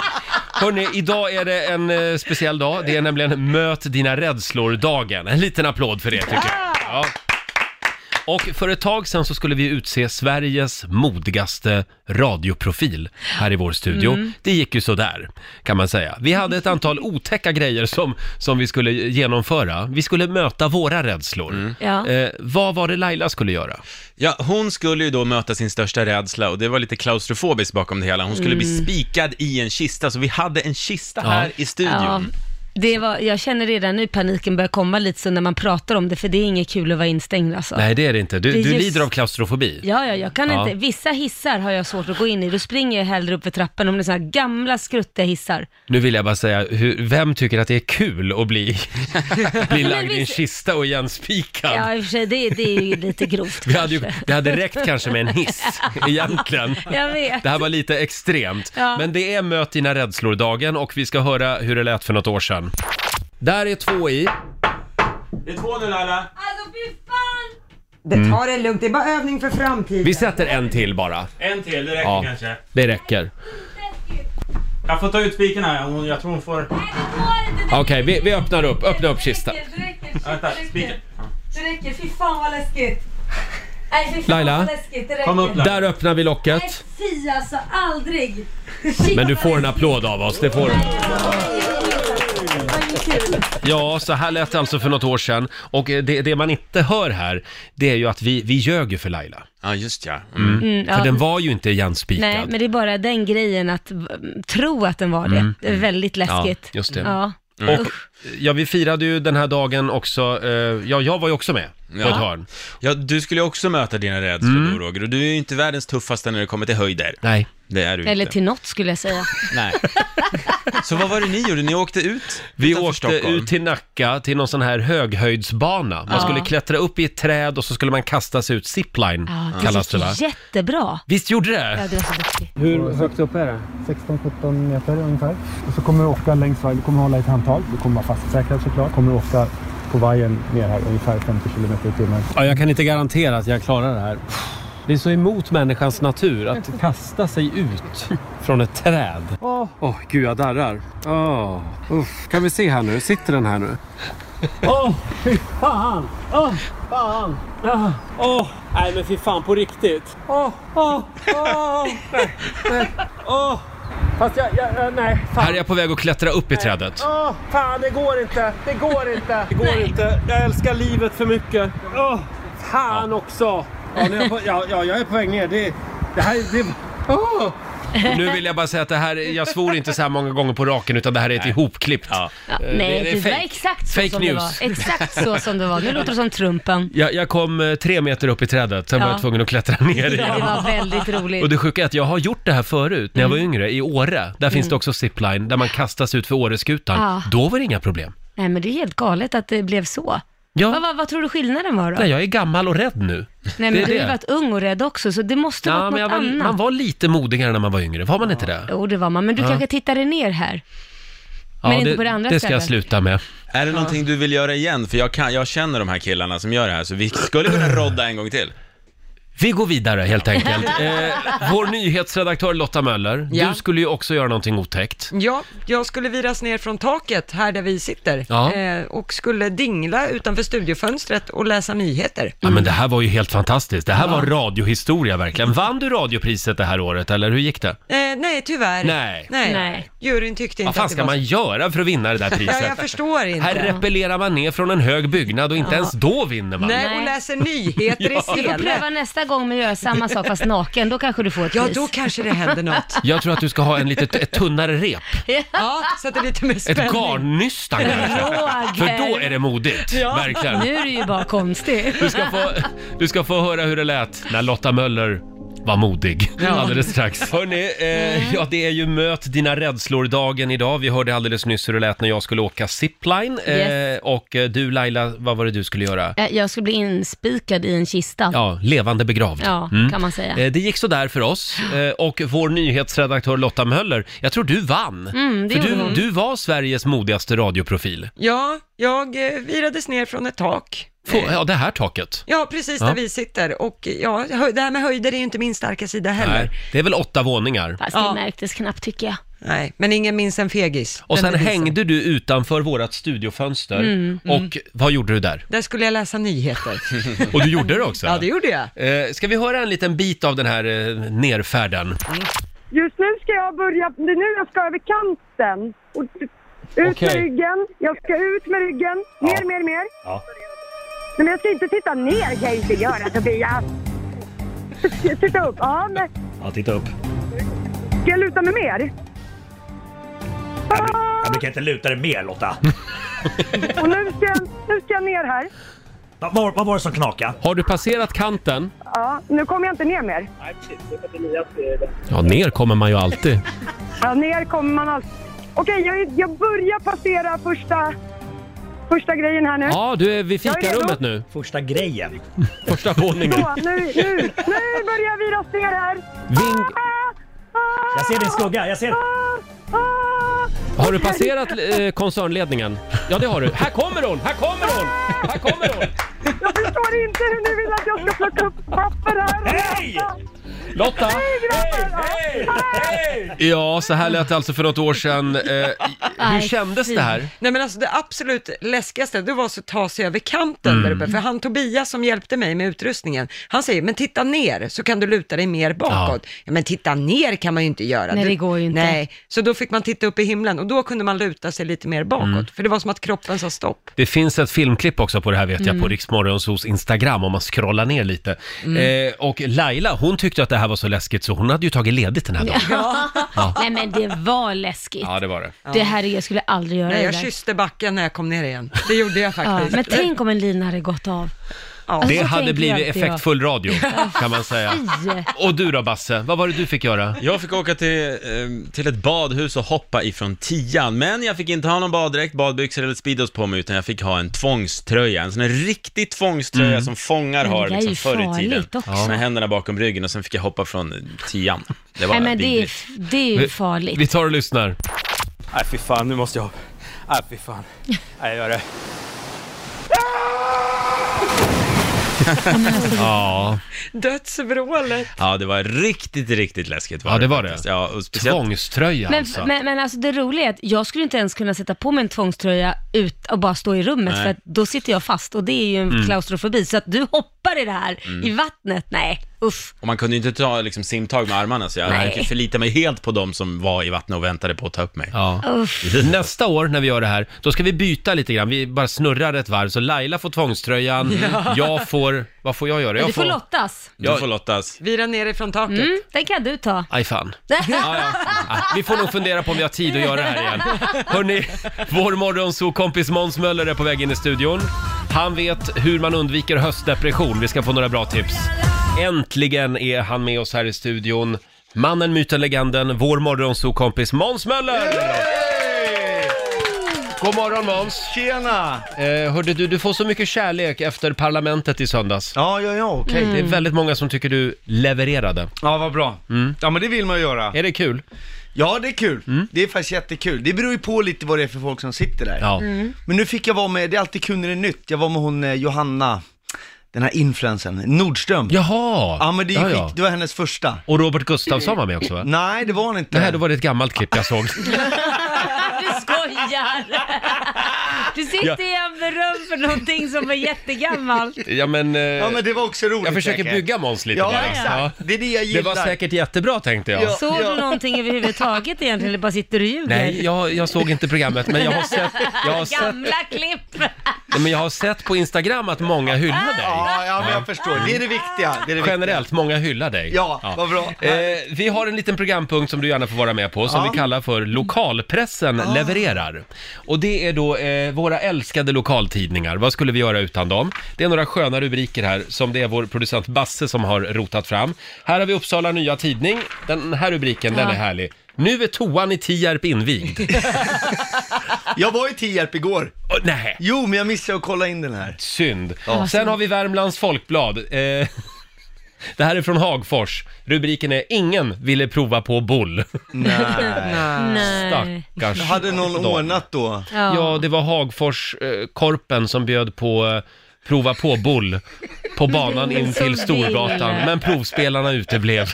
Speaker 1: Hörrni, idag är det en eh, speciell dag. Det är nämligen Möt dina rädslor-dagen. En liten applåd för det tycker jag. Ja. Och för ett tag sedan så skulle vi utse Sveriges modigaste radioprofil här i vår studio.
Speaker 2: Mm.
Speaker 1: Det gick ju sådär, kan man säga. Vi hade ett antal otäcka grejer som, som vi skulle genomföra. Vi skulle möta våra rädslor.
Speaker 2: Mm. Ja.
Speaker 1: Eh, vad var det Laila skulle göra?
Speaker 5: ja, hon skulle ju då möta sin största rädsla och det var lite
Speaker 2: Mm.
Speaker 5: klaustrofobiskt bakom det hela. Hon skulle bli spikad i en kista, så vi hade en kista här i studion.
Speaker 2: Det var, jag känner redan nu paniken börjar komma lite så när man pratar om det, för det är inget kul att vara instängd alltså.
Speaker 1: Nej, det är det inte. Du,
Speaker 2: Det är
Speaker 1: du
Speaker 2: just-
Speaker 1: lider av klaustrofobi.
Speaker 2: Ja, ja, jag kan
Speaker 1: Ja.
Speaker 2: inte. Vissa hissar har jag svårt att gå in i. Då springer jag hellre upp för trappen om det är sådana här gamla skruttiga hissar.
Speaker 1: Nu vill jag bara säga, hur, vem tycker att det är kul att bli, bli lagd i en
Speaker 2: visst-
Speaker 1: kista och igenspikad?
Speaker 2: Ja, i och för sig, det, det är ju lite grovt
Speaker 1: Vi hade ju,
Speaker 2: kanske.
Speaker 1: det hade räckt kanske med en hiss egentligen.
Speaker 2: Jag vet.
Speaker 1: Det här var lite extremt.
Speaker 2: Ja.
Speaker 1: Men det är Möt dina rädslor-dagen och vi ska höra hur det lät för något år sedan. Där är två i.
Speaker 5: Det är två nu Laila.
Speaker 2: Alltså fy fan!
Speaker 3: Det tar det lugnt, det är bara övning för framtiden.
Speaker 1: Mm. Vi sätter en till bara.
Speaker 5: En till, det räcker
Speaker 1: Ja.
Speaker 5: kanske.
Speaker 1: Det räcker.
Speaker 5: Jag får ta ut spiken här, hon, jag tror hon får...
Speaker 1: Okej, vi, vi öppnar upp. Öppna upp kistan.
Speaker 5: Vänta, spiken.
Speaker 2: Det räcker, fy fan vad läskigt. Nej, fy fan
Speaker 1: Laila?
Speaker 2: vad läskigt, det räcker.
Speaker 5: Kom upp Laila.
Speaker 1: Där öppnar vi
Speaker 2: Nej,
Speaker 1: locket.
Speaker 2: fy alltså, aldrig.
Speaker 1: Men du får en applåd av oss, det får du. Ja, så här lät det alltså för något år sedan. Och eh, det, det man inte hör här, det är ju att vi, vi ljög ju för Laila.
Speaker 5: Ja, just ja. Mm.
Speaker 2: Mm,
Speaker 1: För
Speaker 2: ja.
Speaker 1: den var ju inte igenspikad.
Speaker 2: Nej, men det är bara den grejen att mm, tro att den var det. Det är väldigt läskigt.
Speaker 1: Mm. just det. Mm.
Speaker 2: Ja.
Speaker 1: Och ja, vi firade ju den här dagen också, eh, ja jag var ju också med på
Speaker 5: Ja.
Speaker 1: ett hörn. Mm.
Speaker 5: Ja, du skulle ju också möta dina rädslor då, Roger, och du är ju inte världens tuffaste när det kommer till höjder.
Speaker 1: Nej.
Speaker 5: Det är du
Speaker 2: Eller
Speaker 5: inte.
Speaker 2: till något skulle jag
Speaker 1: Mm.
Speaker 2: säga.
Speaker 5: Nej. Så vad var det ni gjorde? Ni åkte ut
Speaker 1: Vi
Speaker 5: utanför
Speaker 1: åkte
Speaker 5: Stockholm.
Speaker 1: ut till Nacka till någon sån här höghöjdsbana. Man
Speaker 2: Ja.
Speaker 1: skulle klättra upp i ett träd och så skulle man kasta sig ut, zipline
Speaker 2: Ja, det
Speaker 1: kallas
Speaker 2: gick
Speaker 1: det va? Äh.
Speaker 2: jättebra.
Speaker 1: Visst gjorde
Speaker 2: Ja,
Speaker 1: det?
Speaker 2: du var så duktig.
Speaker 6: Hur högt upp är det?
Speaker 7: 16-17 meter ungefär. Och så kommer du åka längs vajern. Du kommer hålla i ett handtag. Du kommer vara fastsäkrad såklart. kommer du åka på vajern ner här ungefär 50 kilometer i timmen.
Speaker 6: Ja, jag kan inte garantera att jag klarar det här.
Speaker 1: Det är så emot människans natur att
Speaker 6: Kasta sig ut.
Speaker 1: från ett träd.
Speaker 6: Åh, gud jag darrar. Åh, uff. Kan vi se här nu? Sitter den här nu? Åh, fy fan! Åh, fan! Åh, åh. nej men fy fan på riktigt. Åh, åh, åh! Nej, nej, åh! Fast jag, jag, jag- nej, fan.
Speaker 1: Här är jag på väg att klättra upp i trädet.
Speaker 6: Åh, fan det går inte. Det går inte. Det går inte. Jag älskar livet för mycket. Åh, fan också. Ja, nu är jag, på, ja, ja, jag är på väg ner. Det, det här det, åh.
Speaker 1: Nu vill jag bara säga att det här, jag svor inte så här många gånger på raken utan det här är ett ihopklippt.
Speaker 5: Ja.
Speaker 2: Ja,
Speaker 1: Eh, det
Speaker 2: nej, det,
Speaker 1: är
Speaker 2: var
Speaker 1: fake-
Speaker 2: exakt så
Speaker 1: fake
Speaker 2: som
Speaker 1: news.
Speaker 2: det var. Exakt så som det var. Nu låter det som Trumpen.
Speaker 1: Jag, jag kom eh, tre meter upp i trädet, sen var
Speaker 2: Ja.
Speaker 1: jag tvungen att klättra ner igen.
Speaker 2: Det var väldigt
Speaker 1: Och
Speaker 2: roligt.
Speaker 1: det sjuka är att jag har gjort det här förut när jag var yngre i Åre. Där finns det också zipline där man kastas ut för Åreskutan.
Speaker 2: Ja.
Speaker 1: Då var det inga problem.
Speaker 2: Nej, men det är helt galet att det blev så.
Speaker 1: Ja.
Speaker 2: Vad, vad, vad tror du skillnaden var då?
Speaker 1: Nej, jag är gammal och rädd nu.
Speaker 2: Nej,
Speaker 1: det
Speaker 2: men
Speaker 1: är
Speaker 2: du har
Speaker 1: det.
Speaker 2: ju varit ung och rädd också, så det måste
Speaker 1: Ja,
Speaker 2: varit
Speaker 1: men
Speaker 2: något
Speaker 1: jag var,
Speaker 2: annat.
Speaker 1: man var lite modigare när man var yngre, var man inte det?
Speaker 2: Jo, det var man. Men du kanske tittade ner här.
Speaker 1: Ja,
Speaker 2: men inte på det andra
Speaker 1: det ska jag
Speaker 2: stället.
Speaker 1: sluta med.
Speaker 5: Är det någonting du vill göra igen? För jag, kan, jag känner de här killarna som gör det här, så vi skulle kunna rodda en gång till.
Speaker 1: Vi går vidare helt enkelt. Eh, vår nyhetsredaktör Lotta Möller,
Speaker 3: Ja.
Speaker 1: du skulle ju också göra någonting otäckt.
Speaker 3: Ja, jag skulle viras ner från taket här där vi sitter
Speaker 1: Ja.
Speaker 3: eh, och skulle dingla utanför studiofönstret och läsa nyheter.
Speaker 1: Ja, men det här var ju helt fantastiskt. Det här var radiohistoria verkligen. Vann du radiopriset det här året, eller hur gick det?
Speaker 3: Eh, nej, tyvärr.
Speaker 1: Nej.
Speaker 3: nej.
Speaker 2: Nej.
Speaker 3: Juryn tyckte inte
Speaker 1: Vad fan
Speaker 3: att det
Speaker 1: ska
Speaker 3: var...
Speaker 1: man
Speaker 3: så-
Speaker 1: göra för att vinna det där priset?
Speaker 3: Ja, jag förstår inte.
Speaker 1: Här repellerar man ner från en hög byggnad och inte ens då vinner man.
Speaker 3: Nej, och läser nyheter i
Speaker 2: Du får pröva
Speaker 3: sele.
Speaker 2: nästa gång med att göra samma sak fast naken, då kanske du får ett
Speaker 3: Ja,
Speaker 2: pris.
Speaker 3: då kanske det händer något.
Speaker 1: Jag tror att du ska ha en lite t- ett tunnare rep.
Speaker 3: Ja, så att det är lite mer
Speaker 1: Ett
Speaker 3: spänning.
Speaker 1: garnnystan kanske.
Speaker 2: Roger!
Speaker 1: För då är det modigt. Verkligen.
Speaker 2: Nu är du ju bara konstig.
Speaker 1: Du ska, få, du ska få höra hur det lät när Lotta Möller var modig alldeles strax. Hörni, eh, ja det är ju möt dina rädslor-dagen idag. Vi hörde alldeles nyss hur det lät när jag skulle åka zipline. Eh,
Speaker 2: Yes.
Speaker 1: och eh, du Laila, vad var det du skulle göra?
Speaker 2: Eh, Jag skulle bli inspikad i en kista. Ja,
Speaker 1: Ja, levande begravd.
Speaker 2: kan man säga.
Speaker 1: Eh, Det gick sådär för oss eh, och vår nyhetsredaktör Lotta Möller, jag tror du vann.
Speaker 2: Mm, det
Speaker 1: för
Speaker 2: gjorde
Speaker 1: du,
Speaker 2: hon.
Speaker 1: du var Sveriges modigaste radioprofil.
Speaker 3: Ja, jag eh, virades ner från ett tak.
Speaker 1: Få, ja, det här taket.
Speaker 3: Ja, precis där
Speaker 1: Ja.
Speaker 3: vi sitter. Och ja, hö- det här med höjder är ju inte min starka sida heller.
Speaker 1: Nej,
Speaker 3: Nej,
Speaker 1: det är väl åtta våningar.
Speaker 2: Fast
Speaker 3: Ja.
Speaker 2: det märktes knappt tycker jag.
Speaker 3: men ingen minns en fegis.
Speaker 1: Och
Speaker 3: Den
Speaker 1: sen
Speaker 3: devisen.
Speaker 1: hängde du utanför vårat studiofönster
Speaker 2: Mm,
Speaker 1: och vad gjorde du där?
Speaker 3: Där skulle jag läsa nyheter.
Speaker 1: Och du gjorde det också?
Speaker 3: ja, det gjorde jag.
Speaker 1: Eh, ska vi höra en liten bit av den här eh, nerfärden?
Speaker 8: Just nu ska jag börja, det är nu jag ska över kanten. Och ut
Speaker 1: Okej.
Speaker 8: med ryggen, jag ska ut med ryggen, mer, mer, mer. Nej, men jag ska inte sitta ner kan jag inte göra Tobias. Sitta upp, ja men
Speaker 7: Ja, titta upp.
Speaker 8: ska jag luta mig mer?
Speaker 7: Jag
Speaker 9: Du kan inte luta dig mer Lotta.
Speaker 8: Och nu ska, jag- nu ska jag ner här.
Speaker 9: Va- Vad vad var det som knakade?
Speaker 1: Har du passerat kanten?
Speaker 8: Ja, nu kommer jag inte ner mer.
Speaker 1: Ja, ner kommer man ju alltid.
Speaker 8: Ja, ner kommer man alltid. Okej, jag, jag börjar passera första, första grejen här nu.
Speaker 1: Ja, du är vid
Speaker 8: Jag är redo.
Speaker 1: fikarummet nu.
Speaker 9: Första grejen.
Speaker 1: Första våningen.
Speaker 8: Så, nu, nu, nu börjar vi rasta ner här.
Speaker 1: Vink...
Speaker 9: Jag ser din skugga, jag ser...
Speaker 1: Har du passerat eh, koncernledningen? Ja, det har du. Här kommer hon! Här kommer hon! Här kommer hon!
Speaker 8: Jag förstår inte hur ni vill att jag ska plocka upp papper här.
Speaker 9: Hej!
Speaker 1: Lotta!
Speaker 9: Hej! Hej!
Speaker 1: Ja, så här lät det alltså för något år sedan. Eh, hur
Speaker 2: Nej,
Speaker 1: kändes
Speaker 2: fy.
Speaker 1: det här?
Speaker 3: Nej men alltså det absolut läskigaste, det var att ta sig över kanten
Speaker 1: Mm.
Speaker 3: där uppe. För han Tobias som hjälpte mig med utrustningen, han säger men titta ner så kan du luta dig mer bakåt. Ja. men titta ner kan man ju inte göra.
Speaker 2: Nej,
Speaker 3: Du-
Speaker 2: det går ju inte.
Speaker 3: Nej, så då fick man titta upp i himlen och då kunde man luta sig lite mer bakåt.
Speaker 1: Mm.
Speaker 3: För det var som att kroppen sa stopp.
Speaker 1: Det finns ett filmklipp också på det här vet jag
Speaker 5: Mm.
Speaker 1: på Riksmorgonsos Instagram om man scrollar ner lite.
Speaker 5: Mm.
Speaker 1: Eh, och Laila, hon tyckte att det här var så läskigt så hon hade ju tagit ledigt den här dagen.
Speaker 2: Nej men det var läskigt.
Speaker 1: Ja, det var det.
Speaker 2: Det här är, jag skulle aldrig göra
Speaker 3: Nej,
Speaker 2: det
Speaker 3: jag
Speaker 2: där.
Speaker 3: kysste backen när jag kom ner igen. Det gjorde jag
Speaker 2: Ja,
Speaker 3: faktiskt.
Speaker 2: men tänk om en lina hade gått av. Alltså,
Speaker 3: Ja.
Speaker 1: Det
Speaker 2: Så
Speaker 1: hade
Speaker 2: tänker
Speaker 1: blivit
Speaker 2: alltid jag.
Speaker 1: effektfull radio kan man säga.
Speaker 2: Fy.
Speaker 1: Och du då Basse, vad var det du fick göra?
Speaker 5: Jag fick åka till, eh, till ett badhus och hoppa ifrån tian, men jag fick inte ha någon baddräkt, badbyxor eller Speedos på mig, utan jag fick ha en tvångströja. En sån här riktig tvångströja
Speaker 1: Mm.
Speaker 5: som fångar
Speaker 2: Men det
Speaker 5: har
Speaker 2: där är
Speaker 5: liksom
Speaker 2: ju
Speaker 5: förr i tiden.
Speaker 2: farligt också.
Speaker 5: Med händerna bakom ryggen och sen fick jag hoppa från tian. Det var
Speaker 2: Nej men det är,
Speaker 5: vidrigt.
Speaker 2: det är ju farligt.
Speaker 1: Vi tar och lyssnar.
Speaker 6: Nej fy fan, nu måste jag...
Speaker 1: Äh,
Speaker 6: Nej fy fan. Nej jag gör det.
Speaker 2: alltså,
Speaker 1: Ja,
Speaker 3: Dödsvrålet.
Speaker 5: Ja, det var riktigt, riktigt läskigt. Var
Speaker 1: Ja, det var det.
Speaker 5: faktiskt. Ja, och speciellt...
Speaker 1: tvångströja
Speaker 2: Men,
Speaker 1: alltså.
Speaker 2: men, men alltså det roliga är att jag skulle inte ens kunna sätta på mig en tvångströja ut och bara stå i rummet
Speaker 5: Nej.
Speaker 2: för att då sitter jag fast och det är ju en
Speaker 1: Mm.
Speaker 2: klaustrofobi. Så att du hoppar i det här, i vattnet, nej uff.
Speaker 5: Och man kunde ju inte ta liksom, simtag med armarna, så jag
Speaker 2: Nej.
Speaker 5: verkligen förlitade mig helt på dem som var i vattnet och väntade på att ta upp mig.
Speaker 1: Ja.
Speaker 2: uff.
Speaker 1: Nästa år när vi gör det här, då ska vi byta lite grann. Vi bara snurrar ett varv. Så Laila får tvångströjan, jag får... Vad får jag göra?
Speaker 2: Men
Speaker 1: Jag
Speaker 2: du får lottas.
Speaker 5: Du får Lottas.
Speaker 3: Vira nerifrån taket.
Speaker 2: Mm, den kan du ta.
Speaker 1: Aj fan. Ja, ja. Ja, Vi får nog fundera på om vi har tid att göra det här igen. Hörni, vår morgonsokompis Måns Möller är på väg in i studion. Han vet hur man undviker höstdepression. Vi ska få några bra tips. Äntligen är han med oss här i studion. Mannen, myten, legenden, vår morgonsokompis Måns Möller! God morgon Måns!
Speaker 10: Tjena!
Speaker 1: Eh, hörde du, du får så mycket kärlek efter Parlamentet i söndags.
Speaker 10: Ja, ja, ja, okej.
Speaker 1: Det är väldigt många som tycker du levererade. Mm.
Speaker 10: Ja, vad bra. Ja, men det vill man ju göra.
Speaker 1: Är det kul? Mm.
Speaker 10: Ja, det är kul. Det är faktiskt jättekul. Det beror ju på lite vad det är för folk som sitter där.
Speaker 1: Ja.
Speaker 2: Mm.
Speaker 10: Men nu fick jag vara med, det är alltid kul när det är nytt. Jag var med hon eh, Johanna, den här influensen Nordström.
Speaker 1: Jaha!
Speaker 10: Ja, men det,
Speaker 1: Ja,
Speaker 10: är
Speaker 1: ja.
Speaker 10: skit, det var hennes första.
Speaker 1: Och Robert Gustafsson var med också va?
Speaker 10: Nej, det var hon inte.
Speaker 1: Nej, då var det ett gammalt klipp jag såg.
Speaker 2: Du skojar! Du sitter i en beröm för någonting som är jättegammalt.
Speaker 1: Ja men, eh,
Speaker 10: Ja, men det var också roligt
Speaker 1: jag försöker
Speaker 10: säkert.
Speaker 1: bygga Måns lite
Speaker 10: Ja,
Speaker 1: bara.
Speaker 10: exakt.
Speaker 1: Ja.
Speaker 10: Det är det jag
Speaker 1: Det
Speaker 10: gillar.
Speaker 1: var säkert jättebra tänkte jag.
Speaker 10: Ja.
Speaker 2: Såg du någonting överhuvudtaget egentligen eller bara sitter du och ljuger?
Speaker 1: Nej, jag, jag såg inte programmet men jag har sett, jag har sett,
Speaker 2: Gamla klipp!
Speaker 1: nej, men jag har sett på Instagram att många hyllar dig.
Speaker 10: Ja, ja, men jag förstår. Det är det viktiga. Det är det viktiga.
Speaker 1: Generellt, många hyllar dig.
Speaker 10: Ja, vad bra.
Speaker 1: Eh, vi har en liten programpunkt som du gärna får vara med på som
Speaker 10: Ja. Ah.
Speaker 1: vi kallar för Lokalpressen levererar. Och det är då eh, våra älskade lokaltidningar. Vad skulle vi göra utan dem? Det är några sköna rubriker här som det är vår producent Basse som har rotat fram. Här har vi Uppsala Nya Tidning. Den här rubriken, den är härlig. Nu är toan i Tierp invigd.
Speaker 10: Jag var i Tierp igår.
Speaker 1: Åh, nej,
Speaker 10: Jo, men jag missade att kolla in den här.
Speaker 1: synd. Sen har vi Värmlands Folkblad. Eh, det här är från Hagfors. Rubriken är “Ingen ville prova på boll”.
Speaker 10: Nej.
Speaker 2: Nej.
Speaker 1: Stackars
Speaker 10: Hade någon
Speaker 1: dem.
Speaker 10: ordnat då?
Speaker 1: Ja, det var Hagfors-korpen som bjöd på eh, prova på-boll på banan in
Speaker 2: Som
Speaker 1: till Storgatan,
Speaker 2: ville.
Speaker 1: men provspelarna uteblev.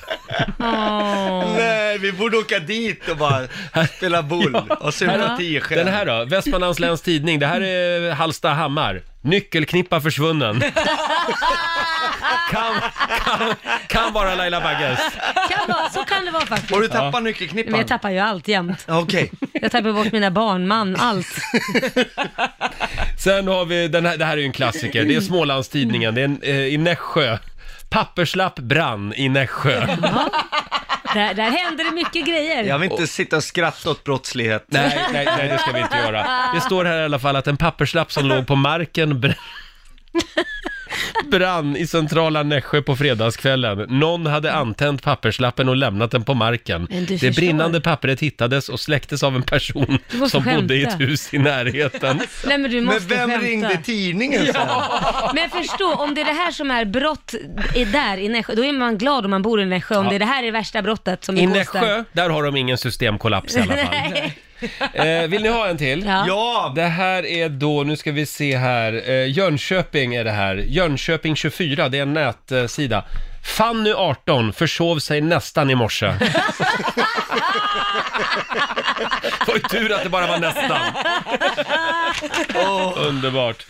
Speaker 2: Åh.
Speaker 10: Nej, vi borde åka dit och bara spela boll och sura tio själv.
Speaker 1: Den här då, Västmanlands Läns Tidning, det här är Hallstahammar. Nyckelknippa försvunnen. Kan, kan, kan vara Laila Bagges.
Speaker 2: Kan vara, så kan det vara faktiskt.
Speaker 10: Har du tappat
Speaker 2: Men
Speaker 10: nyckelknippan?
Speaker 2: jag tappar ju allt jämt.
Speaker 10: Okej.
Speaker 2: Jag tappar bort mina barn, man, allt.
Speaker 1: Sen har vi, den här, det här är ju en klassiker, det är Smålandstidningen, det är en, eh, i Nässjö. Papperslapp brann i Nässjö.
Speaker 2: Där, där händer det mycket grejer.
Speaker 10: Jag vill inte sitta och skratta åt brottslighet.
Speaker 1: Nej, nej, nej, det ska vi inte göra. Det står här i alla fall att en papperslapp som låg på marken br- brann i centrala Nässjö på fredagskvällen. Någon hade antänt papperslappen och lämnat den på marken.
Speaker 2: Men du
Speaker 1: Det
Speaker 2: förstår.
Speaker 1: brinnande papperet hittades och släcktes av en person
Speaker 2: Du måste
Speaker 1: som bodde i ett
Speaker 2: skämta.
Speaker 1: hus i närheten.
Speaker 2: Nej, men du
Speaker 10: Men
Speaker 2: måste
Speaker 10: vem
Speaker 2: skämta.
Speaker 10: ringde tidningen sen?
Speaker 2: Men förstå, om det är det här som är brott i, där i Nässjö, då är man glad om man bor i Nässjö. Om det är det här är det värsta brottet som
Speaker 1: I
Speaker 2: begås där.
Speaker 1: Nässjö, där har de ingen systemkollaps i alla fall.
Speaker 2: Nej.
Speaker 1: Eh, vill ni ha en till?
Speaker 2: Ja.
Speaker 10: Ja!
Speaker 1: Det här är då, nu ska vi se här, eh, Jönköping är det här. Jönköping 24, det är en nätsida. Fanny 18 försov sig nästan i morse. Det var ju tur att det bara var nästan. Underbart.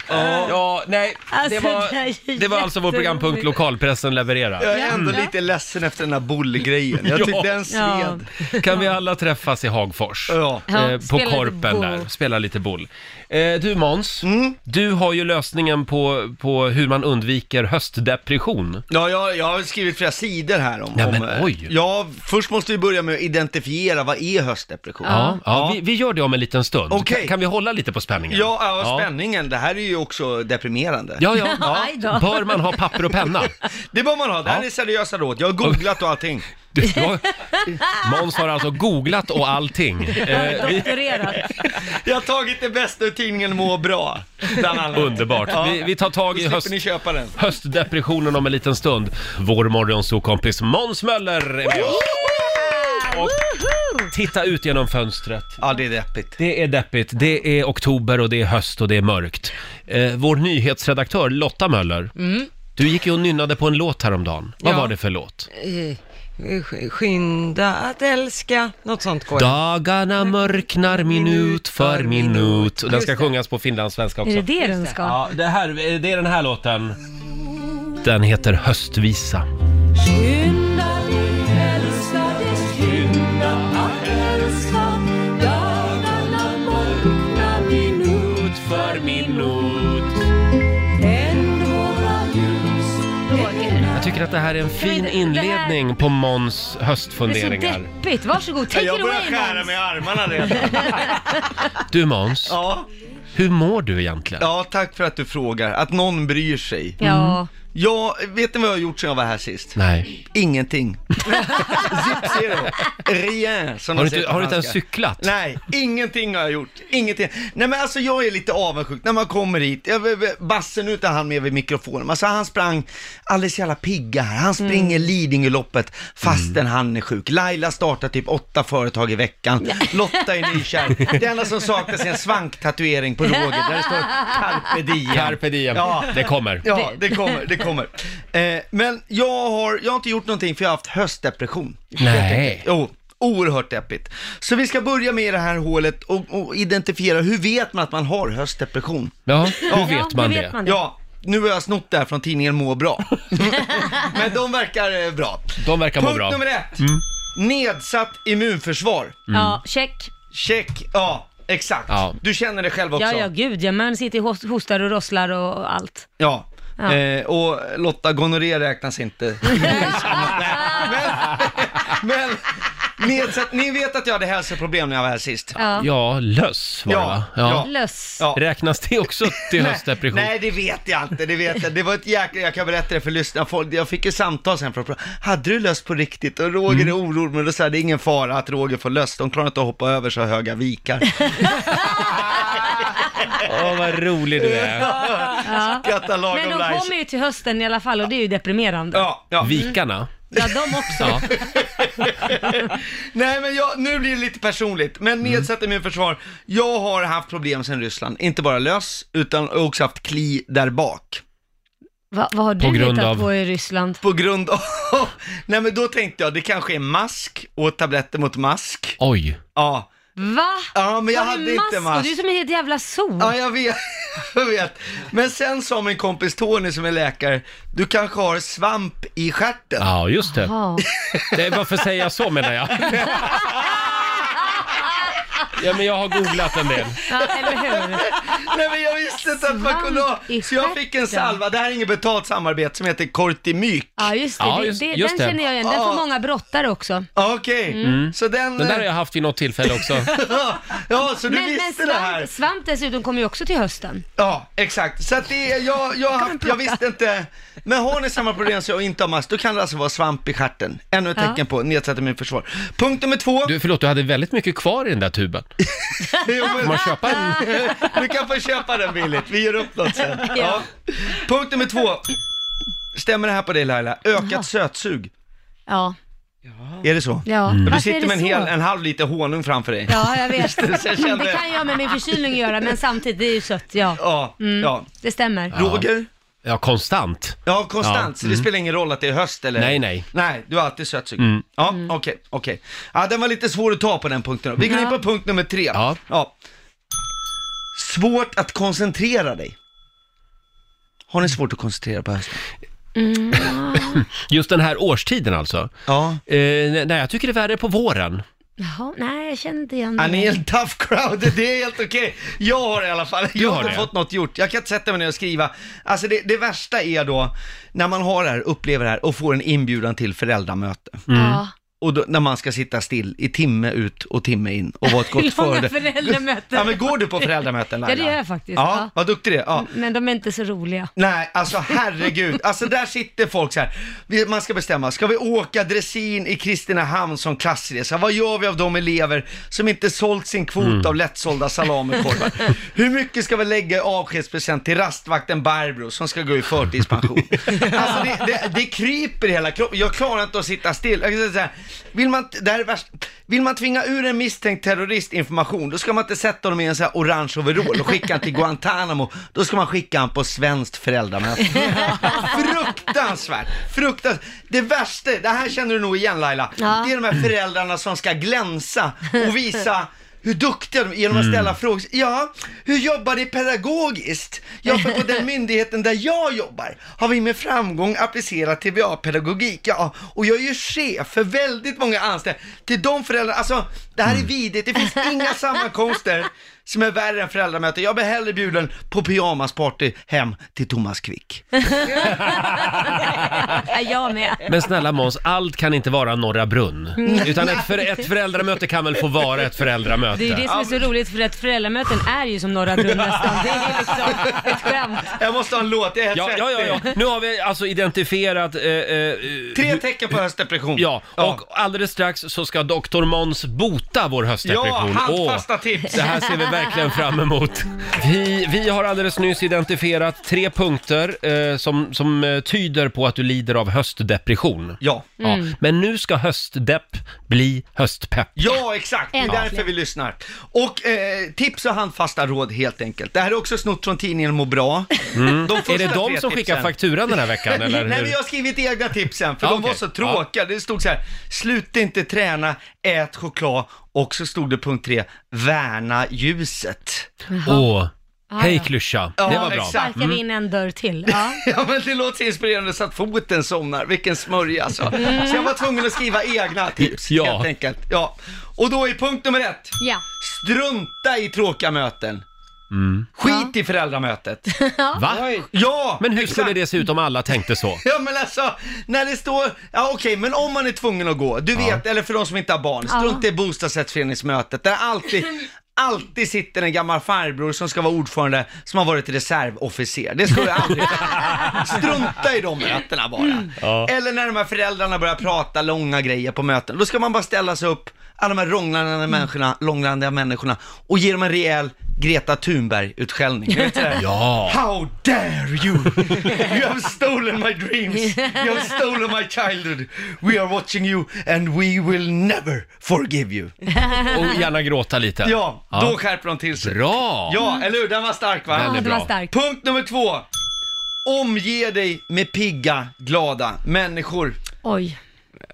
Speaker 1: Ja, nej, det
Speaker 2: Alltså, det här
Speaker 1: var,
Speaker 2: är
Speaker 1: det var alltså vår programpunkt
Speaker 2: jätteroligt.
Speaker 1: Lokalpressen levererar.
Speaker 10: Jag är ändå lite ledsen efter den här bullgrejen. Jag tyckte den
Speaker 2: Ja.
Speaker 10: sved.
Speaker 1: Kan vi alla träffas i Hagfors?
Speaker 10: Ja.
Speaker 2: Ja,
Speaker 1: eh, på
Speaker 2: spela lite
Speaker 1: korpen
Speaker 2: boll.
Speaker 1: där, spela lite boll. Eh, du Måns,
Speaker 10: Mm.
Speaker 1: du har ju lösningen på, på hur man undviker höstdepression.
Speaker 10: Ja, jag, jag har skrivit flera sidor här om...
Speaker 1: Ja, men
Speaker 10: om, eh,
Speaker 1: oj.
Speaker 10: Ja, först måste vi börja med att identifiera vad är höstdepression?
Speaker 1: Ja, ja. Vi, vi gör det om en liten stund.
Speaker 10: Okej.
Speaker 1: Kan, kan vi hålla lite på spänningen?
Speaker 10: Ja, ja, spänningen. Det här är ju också deprimerande.
Speaker 1: Ja, ja.
Speaker 2: Aj då.
Speaker 1: Bör man ha papper och penna?
Speaker 10: Det bör man ha. Det här
Speaker 1: Ja.
Speaker 10: är seriösa råd. Jag har googlat och allting.
Speaker 1: Du, då- Måns har alltså googlat och allting. Eh, vi,
Speaker 2: Doktorerat.
Speaker 10: Jag har tagit det bästa ur tidningen Må bra, bland annat.
Speaker 1: underbart.
Speaker 10: Ja.
Speaker 1: Vi, vi tar tag
Speaker 10: Då
Speaker 1: i
Speaker 10: slipper
Speaker 1: höst,
Speaker 10: ni köpa den.
Speaker 1: höstdepressionen om en liten stund. Vår morgonsokompis Måns Möller är med oss. Och titta ut genom fönstret.
Speaker 10: Ja, det är deppigt.
Speaker 1: Det är deppigt. Det är oktober och det är höst och det är mörkt. Eh, vår nyhetsredaktör Lotta Möller,
Speaker 3: Mm.
Speaker 1: du gick ju och nynnade på en låt häromdagen. Vad
Speaker 3: Ja.
Speaker 1: var det för låt?
Speaker 3: Eh, sk- Skynda att älska, något sånt går
Speaker 1: Dagarna mörknar minut för Mm. minut. Och den ska
Speaker 3: Just det.
Speaker 1: sjungas på finlandssvenska också.
Speaker 2: Är det det den ska?
Speaker 1: Ja, det, här, det är den här låten. Den heter Höstvisa. Minut för minut. Jag tycker att det här är en fin
Speaker 2: inte- det här-
Speaker 1: inledning på Måns
Speaker 2: Det är så
Speaker 1: höstfunderingar.
Speaker 2: deppigt. Varsågod, take
Speaker 10: Jag
Speaker 2: it
Speaker 10: börjar
Speaker 2: away
Speaker 10: skära
Speaker 2: Måns.
Speaker 10: mig i armarna redan.
Speaker 1: Du Måns,
Speaker 10: Ja.
Speaker 1: hur mår du egentligen?
Speaker 10: ja, tack för att du frågar. Att någon bryr sig. Mm.
Speaker 2: Ja,
Speaker 10: Ja, vet ni vad jag har gjort sedan jag var här sist?
Speaker 1: Nej.
Speaker 10: Ingenting. Zip zero. Rien, som
Speaker 1: Har
Speaker 10: de
Speaker 1: du
Speaker 10: säger
Speaker 1: inte,
Speaker 10: på
Speaker 1: har du inte ens
Speaker 10: franska.
Speaker 1: cyklat?
Speaker 10: Nej, ingenting har jag gjort. Ingenting. Nej men alltså jag är lite avundsjuk när man kommer hit. Jag, Basse, nu är inte han med vid mikrofonen. Alltså han sprang alldeles jävla pigga här. Han springer Lidingöloppet fastän
Speaker 1: Mm.
Speaker 10: han är sjuk. Laila startar typ åtta företag i veckan. Lotta är nykär. Det enda som saknas är en svanktatuering på Roger där det står carpe diem.
Speaker 1: Carpe diem.
Speaker 10: Ja.
Speaker 1: Det kommer.
Speaker 10: Ja, det kommer, det kommer. Eh, men jag har, jag har inte gjort någonting för jag har haft höstdepression.
Speaker 1: Nej.
Speaker 10: Jo, oerhört deppigt. Så vi ska börja med det här hålet och, och identifiera, hur vet man att man har höstdepression?
Speaker 1: Ja, hur
Speaker 2: Ja,
Speaker 1: vet man
Speaker 2: hur
Speaker 1: det?
Speaker 2: vet man det?
Speaker 10: Ja, nu har jag snott det här från tidningen Må bra. Men de verkar eh, bra.
Speaker 1: De verkar må
Speaker 10: Punkt
Speaker 1: bra. Mm.
Speaker 10: nummer ett. Nedsatt immunförsvar.
Speaker 2: ja, check.
Speaker 10: Check, ja. Exakt.
Speaker 1: Ja.
Speaker 10: Du känner det själv också.
Speaker 2: Ja, ja, gud ja. Man sitter och host- hostar och rosslar och och allt.
Speaker 10: Ja.
Speaker 2: Ja.
Speaker 10: Eh, och Lotta, gonorré räknas inte. Nej, men, men nedsatt, ni vet att jag hade hälsoproblem när jag var här sist.
Speaker 2: Ja.
Speaker 1: Ja, löss var det
Speaker 10: Ja,
Speaker 1: va?
Speaker 10: ja.
Speaker 2: Löss.
Speaker 10: Ja.
Speaker 1: Räknas det också till höstdepression?
Speaker 10: Nej, det vet jag inte. Det, vet jag. det var ett jäkla... Jag kan berätta det för lyssnarna. Folk- Jag fick ett samtal sen från... Hade du löst på riktigt? Och Roger
Speaker 1: Mm.
Speaker 10: är orolig, men då sa jag, det är ingen fara att Roger får löst. De klarar inte att hoppa över så höga vikar.
Speaker 1: Åh, vad rolig du är.
Speaker 2: Ja.
Speaker 10: Skrattar
Speaker 2: Men
Speaker 10: lagom
Speaker 2: de
Speaker 10: nice.
Speaker 2: kommer ju till hösten i alla fall och det är ju deprimerande. Ja,
Speaker 10: Ja, ja.
Speaker 1: Vikarna?
Speaker 2: de också.
Speaker 1: Ja.
Speaker 10: Nej men jag, nu blir det lite personligt, men
Speaker 1: Mm.
Speaker 10: nedsatt immunförsvar. Jag har haft problem sedan Ryssland, inte bara lös, utan också haft kli där bak.
Speaker 2: Va, vad har du
Speaker 1: På grund
Speaker 2: hittat
Speaker 1: av-
Speaker 2: på i Ryssland?
Speaker 10: På grund av... Nej men då tänkte jag, det kanske är mask och tabletter mot mask.
Speaker 1: Oj.
Speaker 10: Ja,
Speaker 2: Va?
Speaker 10: ja men jag
Speaker 2: Har du
Speaker 10: hade inte
Speaker 2: mask?
Speaker 10: mask.
Speaker 2: Du är som en helt jävla sol.
Speaker 10: Ja, jag vet. jag vet. Men sen sa min kompis Tony som är läkare, du kanske har svamp i stjärten.
Speaker 1: Ja, just det.
Speaker 2: Ja.
Speaker 1: det. Varför säger jag så menar jag? Ja, men jag har googlat en del.
Speaker 2: Ja, eller hur?
Speaker 10: Nej men jag visste inte att man kunde ha.
Speaker 2: Svamp i
Speaker 10: Så jag fick en
Speaker 2: stjärten.
Speaker 10: salva, det här är inget betalt samarbete, som heter Kortimyk.
Speaker 2: Ja, just det.
Speaker 1: Ja,
Speaker 2: det-
Speaker 1: just-
Speaker 2: det,
Speaker 1: just
Speaker 2: den
Speaker 1: det. Mm.
Speaker 2: känner jag igen. Den
Speaker 10: Ja.
Speaker 2: får många brottare också. Mm.
Speaker 10: Okej, så den...
Speaker 1: Den där har jag haft vid något tillfälle också.
Speaker 10: Ja, så du
Speaker 2: men men
Speaker 10: visste det här?
Speaker 2: svamp, svamp dessutom kommer ju också till hösten.
Speaker 10: Ja, exakt. Så att det, är- jag, jag, har haft, jag visste inte. Men har ni samma problem som jag inte har mast, då kan det alltså vara svamp i stjärten. Ännu ett
Speaker 2: Ja.
Speaker 10: tecken på nedsatt immunförsvar. Punkt nummer två.
Speaker 1: Du, förlåt, du hade väldigt mycket kvar i den där tuben.
Speaker 10: Jo, men-
Speaker 1: Får man köpa en?
Speaker 10: Du kan få köpa den billigt, vi gör upp något sen. Ja.
Speaker 2: Ja.
Speaker 10: Punkt nummer två. Stämmer det här på dig Laila? Ökat sötsug.
Speaker 2: Ja,
Speaker 10: Är det så? Mm.
Speaker 2: ja.
Speaker 10: Du
Speaker 2: Varför är
Speaker 10: sitter
Speaker 2: det
Speaker 10: med en, hel,
Speaker 2: så?
Speaker 10: en halv liter honung framför dig.
Speaker 2: Ja, jag vet. Mm,
Speaker 10: Så jag kände-
Speaker 2: Det kan jag med min förkylning göra, men samtidigt, det är ju sött. Ja,
Speaker 10: Ja,
Speaker 2: Mm.
Speaker 10: ja.
Speaker 2: det stämmer.
Speaker 10: Roger?
Speaker 1: Ja, konstant.
Speaker 10: Ja, konstant.
Speaker 1: Ja, Mm.
Speaker 10: Så det spelar ingen roll att det är höst eller?
Speaker 1: Nej, nej. Mm.
Speaker 10: Nej, du har alltid sötsug. Ja, okej, okej. Ja, den var lite svår att ta på den punkten då. Vi går
Speaker 2: Mm. Ja.
Speaker 10: in på punkt nummer tre.
Speaker 1: Ja.
Speaker 10: Svårt att koncentrera dig. Har ni svårt att koncentrera på hösten? Mm.
Speaker 1: Just den här årstiden alltså.
Speaker 10: Ja.
Speaker 1: Eh, nej, jag tycker det är värre på våren.
Speaker 2: Jaha, nej, jag känner inte igen
Speaker 10: Ja, ni är
Speaker 2: det.
Speaker 10: en tough crowd, det är helt okej. Jag har det i alla fall, jag
Speaker 1: har
Speaker 10: har inte
Speaker 1: det.
Speaker 10: fått något gjort. Jag kan inte sätta mig ner och skriva. Alltså det, det värsta är då, när man har det här, upplever det här och får en inbjudan till föräldramöte.
Speaker 2: Mm.
Speaker 10: Mm.
Speaker 2: Ja.
Speaker 10: Och då, när man ska sitta still i timme ut och timme in och vara ett gott
Speaker 2: Långa
Speaker 10: före.
Speaker 2: föräldramöten.
Speaker 10: Ja men går du på föräldramöten Laila?
Speaker 2: Ja, det gör jag faktiskt,
Speaker 10: Ja,
Speaker 2: ja.
Speaker 10: vad duktig du är. Ja.
Speaker 2: Men de är inte så roliga.
Speaker 10: Nej, alltså herregud. Alltså där sitter folk så här. Vi- Man ska bestämma, ska vi åka dressin i Kristinehamn som klassresa? Vad gör vi av de elever som inte sålt sin kvot av lättsålda salamikorvar? Hur mycket ska vi lägga i avskedspresent till rastvakten Barbro som ska gå i förtidspension? Alltså det, det, det kryper i hela kroppen. Jag klarar inte att sitta still. Jag kan säga så här, vill, man, det här är värst, vill man tvinga ur en misstänkt terrorist information, då ska man inte sätta honom i en så här orange overall och skicka honom till Guantanamo. Då ska man skicka honom på svenskt föräldramöte. Fruktansvärt! Fruktansvärt! Det värsta, det här känner du nog igen Laila,
Speaker 2: Ja.
Speaker 10: det är de här föräldrarna som ska glänsa och visa hur duktiga de är genom att ställa frågor. Ja, hur jobbar ni pedagogiskt? Ja, för på den myndigheten där jag jobbar har vi med framgång applicerat TBA-pedagogik. Ja, och jag är ju chef för väldigt många anställda. Till de föräldrarna, alltså det här är vidrigt. Det finns inga sammankomster som är värre än föräldramöte. Jag blir hellre bjuden på pyjamasparty hem till Thomas Quick.
Speaker 2: Ja, jag med.
Speaker 1: Men snälla Måns, allt kan inte vara Norra Brunn.
Speaker 2: Mm.
Speaker 1: Utan ett, för, ett föräldramöte kan väl få vara ett
Speaker 2: Det är ju det
Speaker 1: föräldramöte?
Speaker 2: som är så roligt för att föräldramöten är ju som Norra Brunn nästan. Det är liksom ett skämt.
Speaker 10: Jag måste ha en låt, jag är helt
Speaker 1: Ja,
Speaker 10: svettig.
Speaker 1: ja, ja, ja. Nu har vi alltså identifierat... Eh, eh,
Speaker 10: Tre
Speaker 1: hur-
Speaker 10: tecken på höstdepression.
Speaker 1: Ja, och alldeles strax så ska Dr. Måns bota vår höstdepression.
Speaker 10: Ja, handfasta
Speaker 1: Åh,
Speaker 10: tips.
Speaker 1: Det här ser vi verkligen fram emot. Vi, vi har alldeles nyss identifierat tre punkter eh, som, som eh, tyder på att du lider av höstdepression.
Speaker 10: Ja.
Speaker 1: Ja,
Speaker 2: Mm.
Speaker 1: men nu ska höstdepp bli höstpepp.
Speaker 10: Ja, exakt. Det är
Speaker 2: Äntligen.
Speaker 10: därför vi lyssnar. Och eh, tips och handfasta råd helt enkelt. Det här är också snott från tidningen Må Bra. De första
Speaker 1: Mm. Är det de
Speaker 10: tre
Speaker 1: som skickar
Speaker 10: tipsen-
Speaker 1: fakturan den här veckan eller?
Speaker 10: Nej,
Speaker 1: hur?
Speaker 10: men jag har skrivit egna tipsen för
Speaker 1: Ja,
Speaker 10: de var
Speaker 1: okej.
Speaker 10: så tråkiga. Det stod så här, sluta inte träna, ät choklad och så stod det punkt tre, värna ljuset.
Speaker 1: Åh, hej klyscha.
Speaker 10: Ja,
Speaker 1: Det var bra. Mm.
Speaker 10: exakt.
Speaker 2: Sparkar vi in en dörr till. Ja.
Speaker 10: Ja men det låter så inspirerande så att foten somnar, vilken smörja alltså. Så jag var tvungen att skriva egna tips
Speaker 1: Ja.
Speaker 10: helt enkelt. Ja. Och då är punkt nummer ett,
Speaker 2: ja.
Speaker 10: strunta i tråkiga möten. Skit i föräldramötet.
Speaker 1: Va?
Speaker 10: Ja!
Speaker 1: Men hur
Speaker 10: exakt.
Speaker 1: skulle det se ut om alla tänkte så?
Speaker 10: Ja men alltså, när det står, ja okej men om man är tvungen att gå, du vet, eller för de som inte har barn, strunt i bostadsrättsföreningsmötet där alltid, alltid sitter en gammal farbror som ska vara ordförande som har varit reservofficer. Det ska du aldrig Strunta i de mötena bara.
Speaker 1: Ja.
Speaker 10: Eller när de här föräldrarna börjar prata långa grejer på möten, då ska man bara ställa sig upp, alla de här
Speaker 1: Mm.
Speaker 10: långrandiga människorna, långrandiga människorna och ge dem en rejäl Greta Thunberg-utskällning. Ni vet, sådär,
Speaker 1: Ja.
Speaker 10: How dare you! You have stolen my dreams! You have stolen my childhood! We are watching you and we will never forgive you!
Speaker 1: Och gärna gråta lite.
Speaker 10: Ja, då skärper de till sig.
Speaker 1: Bra!
Speaker 10: Ja, eller hur? Den var stark va?
Speaker 1: Den är
Speaker 2: ja, det
Speaker 1: bra.
Speaker 2: var starkt.
Speaker 10: Punkt nummer två. Omge dig med pigga, glada människor.
Speaker 2: Oj.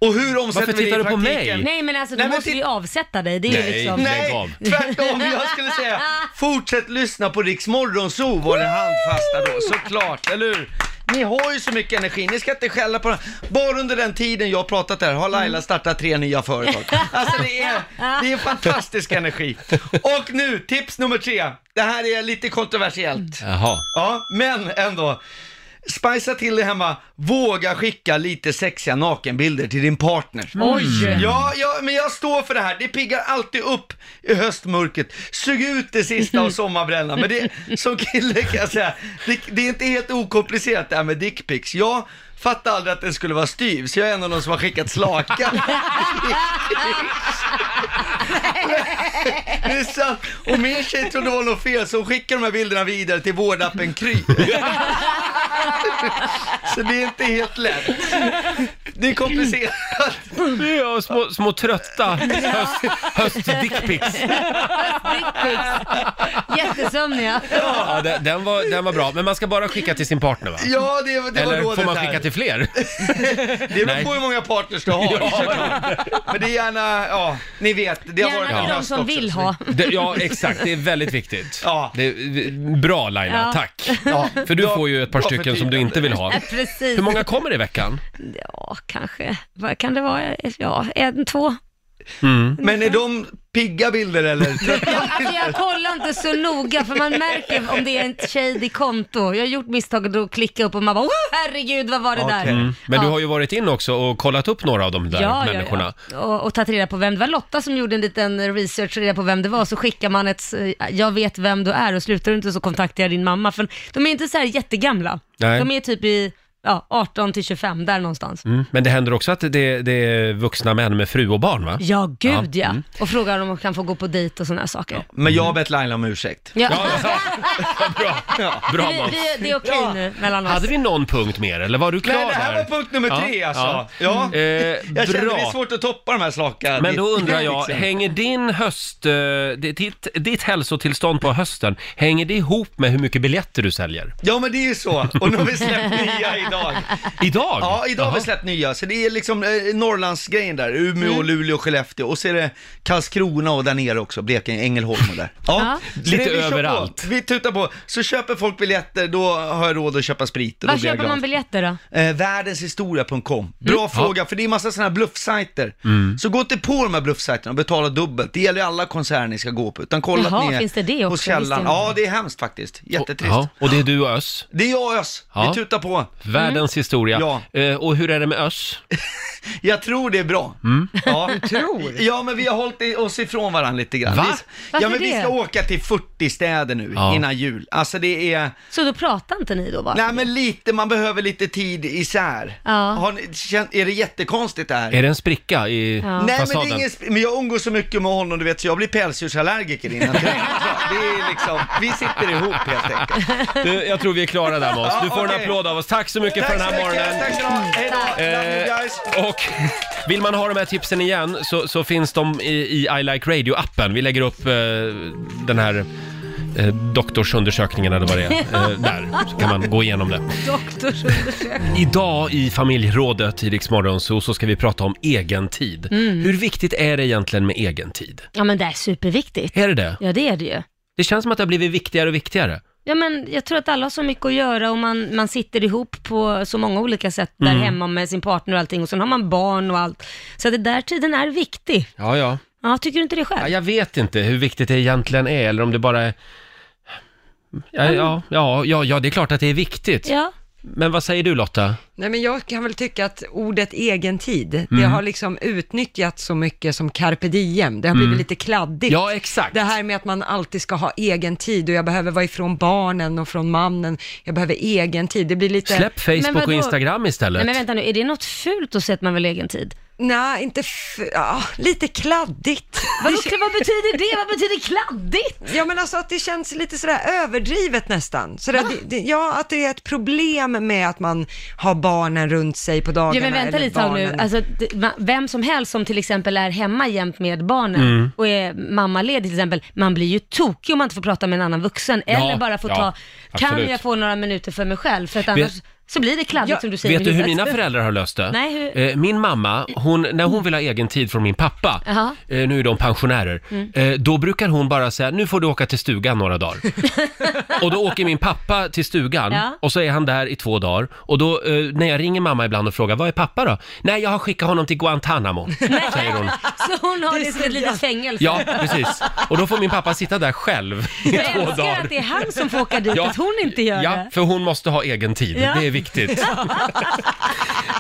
Speaker 10: Och hur omsätter
Speaker 1: Varför
Speaker 10: vi det i
Speaker 1: tittar du på
Speaker 10: praktiken?
Speaker 1: mig?
Speaker 2: Nej men alltså då
Speaker 10: Nej, men
Speaker 2: måste
Speaker 10: titt-
Speaker 2: vi avsätta dig. Det är
Speaker 1: Nej.
Speaker 2: ju liksom...
Speaker 1: Lägg
Speaker 10: Nej,
Speaker 1: av.
Speaker 10: tvärtom. Jag skulle säga fortsätt lyssna på Riks Morgonzoo var det handfasta då, såklart, eller hur? Ni har ju så mycket energi, ni ska inte skälla på den. Bara under den tiden jag har pratat här har Laila startat tre nya företag. Alltså det är, det är fantastisk energi. Och nu, tips nummer tre. Det här är lite kontroversiellt.
Speaker 1: Jaha.
Speaker 10: Ja, men ändå. Spicea till det hemma. Våga skicka lite sexiga nakenbilder till din partner.
Speaker 11: Oj.
Speaker 10: Ja, ja, men jag står för det här. Det piggar alltid upp i höstmörkret. Sug ut det sista av sommarbrännan. Men det, som kille kan jag säga, det, det är inte helt okomplicerat det här med dickpics. Jag fattade aldrig att den skulle vara styv, så jag är en av de som har skickat slaka. Det är sant. Och min tjej trodde det var något fel, så hon skickar de här bilderna vidare till vårdappen Kry. Så det är inte helt lätt. Det är komplicerat.
Speaker 1: Ja, små, små trötta höst, höstdickpics.
Speaker 2: Jättesömniga.
Speaker 1: Ja, den, den, var, den var bra. Men man ska bara skicka till sin partner va?
Speaker 10: Ja, det, det var
Speaker 1: Eller
Speaker 10: rådet
Speaker 1: får man
Speaker 10: här.
Speaker 1: skicka till fler?
Speaker 10: Det beror på hur många partners du har. Men det är gärna, ja, ni vet. Det har
Speaker 2: Gärna
Speaker 10: varit
Speaker 2: till
Speaker 10: en
Speaker 2: de
Speaker 10: höst
Speaker 2: som
Speaker 10: också,
Speaker 2: vill
Speaker 10: så
Speaker 2: ha.
Speaker 1: Det, ja, exakt. Det är väldigt viktigt.
Speaker 10: Ja.
Speaker 1: Det, eh, bra Laila,
Speaker 2: Ja.
Speaker 1: tack.
Speaker 10: Ja.
Speaker 1: För du
Speaker 10: Bra-
Speaker 1: får ju ett par
Speaker 10: bra
Speaker 1: stycken som du
Speaker 10: förtydligande.
Speaker 1: inte vill ha.
Speaker 2: Ja, precis.
Speaker 1: Hur många kommer i veckan?
Speaker 2: Ja, kanske. Vad kan det vara? Ja, en, två.
Speaker 10: Mm.
Speaker 1: Mm.
Speaker 10: Men är de pigga bilder eller?
Speaker 2: Alltså jag kollar inte så noga för man märker om det är ett shady konto. Jag har gjort misstaget att klicka upp och man bara oh, herregud vad var det där?
Speaker 10: Okej. Mm.
Speaker 1: Men du
Speaker 2: Ja.
Speaker 1: har ju varit in också och kollat upp några av de där människorna.
Speaker 2: Och, och tagit reda på vem det var. Lotta som gjorde en liten research reda på vem det var. Så skickar man ett, eh, jag vet vem du är och slutar du inte så kontaktar jag din mamma. För de är inte så här jättegamla.
Speaker 1: Nej.
Speaker 2: De är typ i ja, 18 till 25, där någonstans.
Speaker 1: Mm. Men det händer också att det, det är vuxna män med fru och barn va?
Speaker 2: Ja, gud ja.
Speaker 1: Ja, mm.
Speaker 2: Och frågar om de kan få gå på dejt och sådana här saker.
Speaker 10: Men jag har bett Laila om ursäkt.
Speaker 2: Ja.
Speaker 1: Bra
Speaker 2: vi,
Speaker 1: Mats.
Speaker 2: vi, det är okej nu mellan oss.
Speaker 1: Hade vi någon punkt mer eller var du klar
Speaker 10: Nej, det här
Speaker 1: där?
Speaker 10: var punkt nummer tre alltså. Ja.
Speaker 1: Eh,
Speaker 10: Jag känner det är
Speaker 1: bra.
Speaker 10: svårt att toppa de här slaka.
Speaker 1: Men då
Speaker 10: Det-
Speaker 1: undrar jag,
Speaker 10: liksom.
Speaker 1: hänger din höst, eh, ditt, ditt hälsotillstånd på hösten, hänger det ihop med hur mycket biljetter du säljer?
Speaker 10: Ja men det är ju så, och nu har vi släppt nya idag.
Speaker 1: Idag?
Speaker 10: Ja, idag har vi
Speaker 1: Jaha.
Speaker 10: släppt nya, så det är liksom eh, Norrlandsgrejen där, Umeå,
Speaker 2: Mm.
Speaker 10: Luleå, Skellefteå och så är det Karlskrona och där nere också, Blekinge, Ängelholm och där. Ja,
Speaker 2: Ja.
Speaker 10: Så
Speaker 1: Lite
Speaker 10: det vi kör
Speaker 1: överallt.
Speaker 10: På. Vi tutar på, så köper folk biljetter, då har jag råd att köpa sprit och då
Speaker 2: Var
Speaker 10: blir jag
Speaker 2: köper man
Speaker 10: glad.
Speaker 2: biljetter då?
Speaker 10: Eh, världenshistoria.com. Bra
Speaker 1: Mm.
Speaker 10: fråga, för det är massa sådana här bluffsajter. Så gå inte på de här bluffsajterna och betala dubbelt. Det gäller ju alla konserter ni ska gå på. Utan kolla
Speaker 2: Jaha,
Speaker 10: att ni är
Speaker 2: finns det det också?
Speaker 10: hos
Speaker 2: Visste jag
Speaker 10: källan.
Speaker 2: inte.
Speaker 10: Ja, det är hemskt faktiskt. Jättetrist.
Speaker 1: Ja, och det är du och Öss,
Speaker 10: Det är jag och Ös.
Speaker 1: Ja.
Speaker 10: Vi tutar på. Mm.
Speaker 1: världens historia.
Speaker 10: Ja.
Speaker 1: Eh, och hur är det med Mm. Öss?
Speaker 10: Jag tror det är bra. Ja. Du tror? Ja, men vi har hållit i- oss ifrån varandra lite grann.
Speaker 1: Va?
Speaker 10: Vi,
Speaker 2: Varför
Speaker 10: ja, men vi
Speaker 2: det?
Speaker 10: ska åka till 40 städer nu
Speaker 1: Ja.
Speaker 10: innan jul. Alltså det är...
Speaker 2: Så då pratar inte ni då bara?
Speaker 10: Nej, men lite, man behöver lite tid isär.
Speaker 2: Ja.
Speaker 10: Har ni, känn- är det jättekonstigt det här?
Speaker 1: Är det en spricka
Speaker 10: Nej
Speaker 1: i fasaden?
Speaker 10: men det är ingen, sp- men jag umgås så mycket med honom du vet så jag blir pälsdjursallergiker innan det är liksom, vi sitter ihop helt enkelt.
Speaker 1: Du, jag tror vi är klara där Måns. Du får en
Speaker 10: okej.
Speaker 1: applåd av oss. Tack så mycket för den här morgonen.
Speaker 10: tack ska ni ha, hejdå, love you guys.
Speaker 1: Eh, och vill man ha de här tipsen igen så, så finns de i, i I Like Radio-appen. Vi lägger upp eh, den här eh, doktorsundersökningen eller vad det är eh, där. Så kan man gå igenom det.
Speaker 2: Doktorsundersökning.
Speaker 1: Idag i familjerådet i Rix Morgon så, så ska vi prata om egen tid.
Speaker 10: Mm.
Speaker 1: Hur viktigt är det egentligen med egen tid?
Speaker 2: Ja men det är superviktigt.
Speaker 1: Är det det?
Speaker 2: Ja det är det ju.
Speaker 1: Det känns som att det har blivit viktigare och viktigare.
Speaker 2: Ja men jag tror att alla har så mycket att göra och man, man sitter ihop på så många olika sätt där
Speaker 1: Mm.
Speaker 2: hemma med sin partner och allting och sen har man barn och allt. Så det där tiden är viktig.
Speaker 1: Ja, ja.
Speaker 2: Ja, tycker du inte det själv?
Speaker 1: Ja, jag vet inte hur viktigt det egentligen är eller om det bara är... Ja, ja, ja, ja, ja det är klart att det är viktigt.
Speaker 2: Mm. Ja.
Speaker 1: Men vad säger du Lotta?
Speaker 3: Nej, men jag kan väl tycka att ordet egen tid, det
Speaker 1: Mm.
Speaker 3: har liksom utnyttjats så mycket som carpe diem. Det har blivit lite kladdigt.
Speaker 1: Mm. Ja, exakt.
Speaker 3: Det här med att man alltid ska ha egen tid och jag behöver vara ifrån barnen och från mannen. Jag behöver egen tid. Det blir lite...
Speaker 1: Släpp
Speaker 2: Men
Speaker 1: Facebook
Speaker 2: vadå?
Speaker 1: och Instagram istället.
Speaker 2: Nej men vänta nu, är det något fult att säga att man vill ha egen tid?
Speaker 3: Nej, inte... F... Ja, lite kladdigt.
Speaker 2: Vad, vad betyder det? Vad betyder kladdigt?
Speaker 3: Ja men alltså att det känns lite sådär överdrivet nästan. Sådär, det, det, ja, att det är ett problem med att man har barnen runt sig på dagarna.
Speaker 2: Ja men vänta
Speaker 3: eller
Speaker 2: lite här nu,
Speaker 3: barnen.
Speaker 2: alltså, det- ma- vem som helst som till exempel är hemma jämt med barnen
Speaker 1: Mm.
Speaker 2: och är mammaledig till exempel, man blir ju tokig om man inte får prata med en annan vuxen eller bara får
Speaker 1: ja,
Speaker 2: ta, kan
Speaker 1: absolut.
Speaker 2: jag få några minuter för mig själv? För att
Speaker 1: Vet-
Speaker 2: annars så blir det kladdigt som du säger
Speaker 1: Vet
Speaker 2: i
Speaker 1: du hur
Speaker 2: huvudet.
Speaker 1: mina föräldrar har löst det?
Speaker 2: Nej, hur-
Speaker 1: Eh, Min mamma, hon, när hon vill ha egen tid från min pappa,
Speaker 2: Jaha.
Speaker 1: eh, nu är de pensionärer,
Speaker 2: Mm.
Speaker 1: eh, då brukar hon bara säga nu får du åka till stugan några dagar. och då åker min pappa till stugan
Speaker 2: Ja.
Speaker 1: och så är han där i två dagar och då eh, när jag ringer mamma ibland och frågar vad är pappa då? Nej, jag har skickat honom till Guantanamo, säger hon.
Speaker 2: Så hon har det, som ett litet fängelse.
Speaker 1: Ja, precis. Och då får min pappa sitta där själv i
Speaker 2: Jag
Speaker 1: två
Speaker 2: älskar
Speaker 1: dagar.
Speaker 2: att det är han som får åka dit,
Speaker 1: Ja.
Speaker 2: att hon inte gör
Speaker 1: Ja,
Speaker 2: det.
Speaker 1: för hon måste ha egen tid.
Speaker 2: Ja.
Speaker 1: Det är viktigt.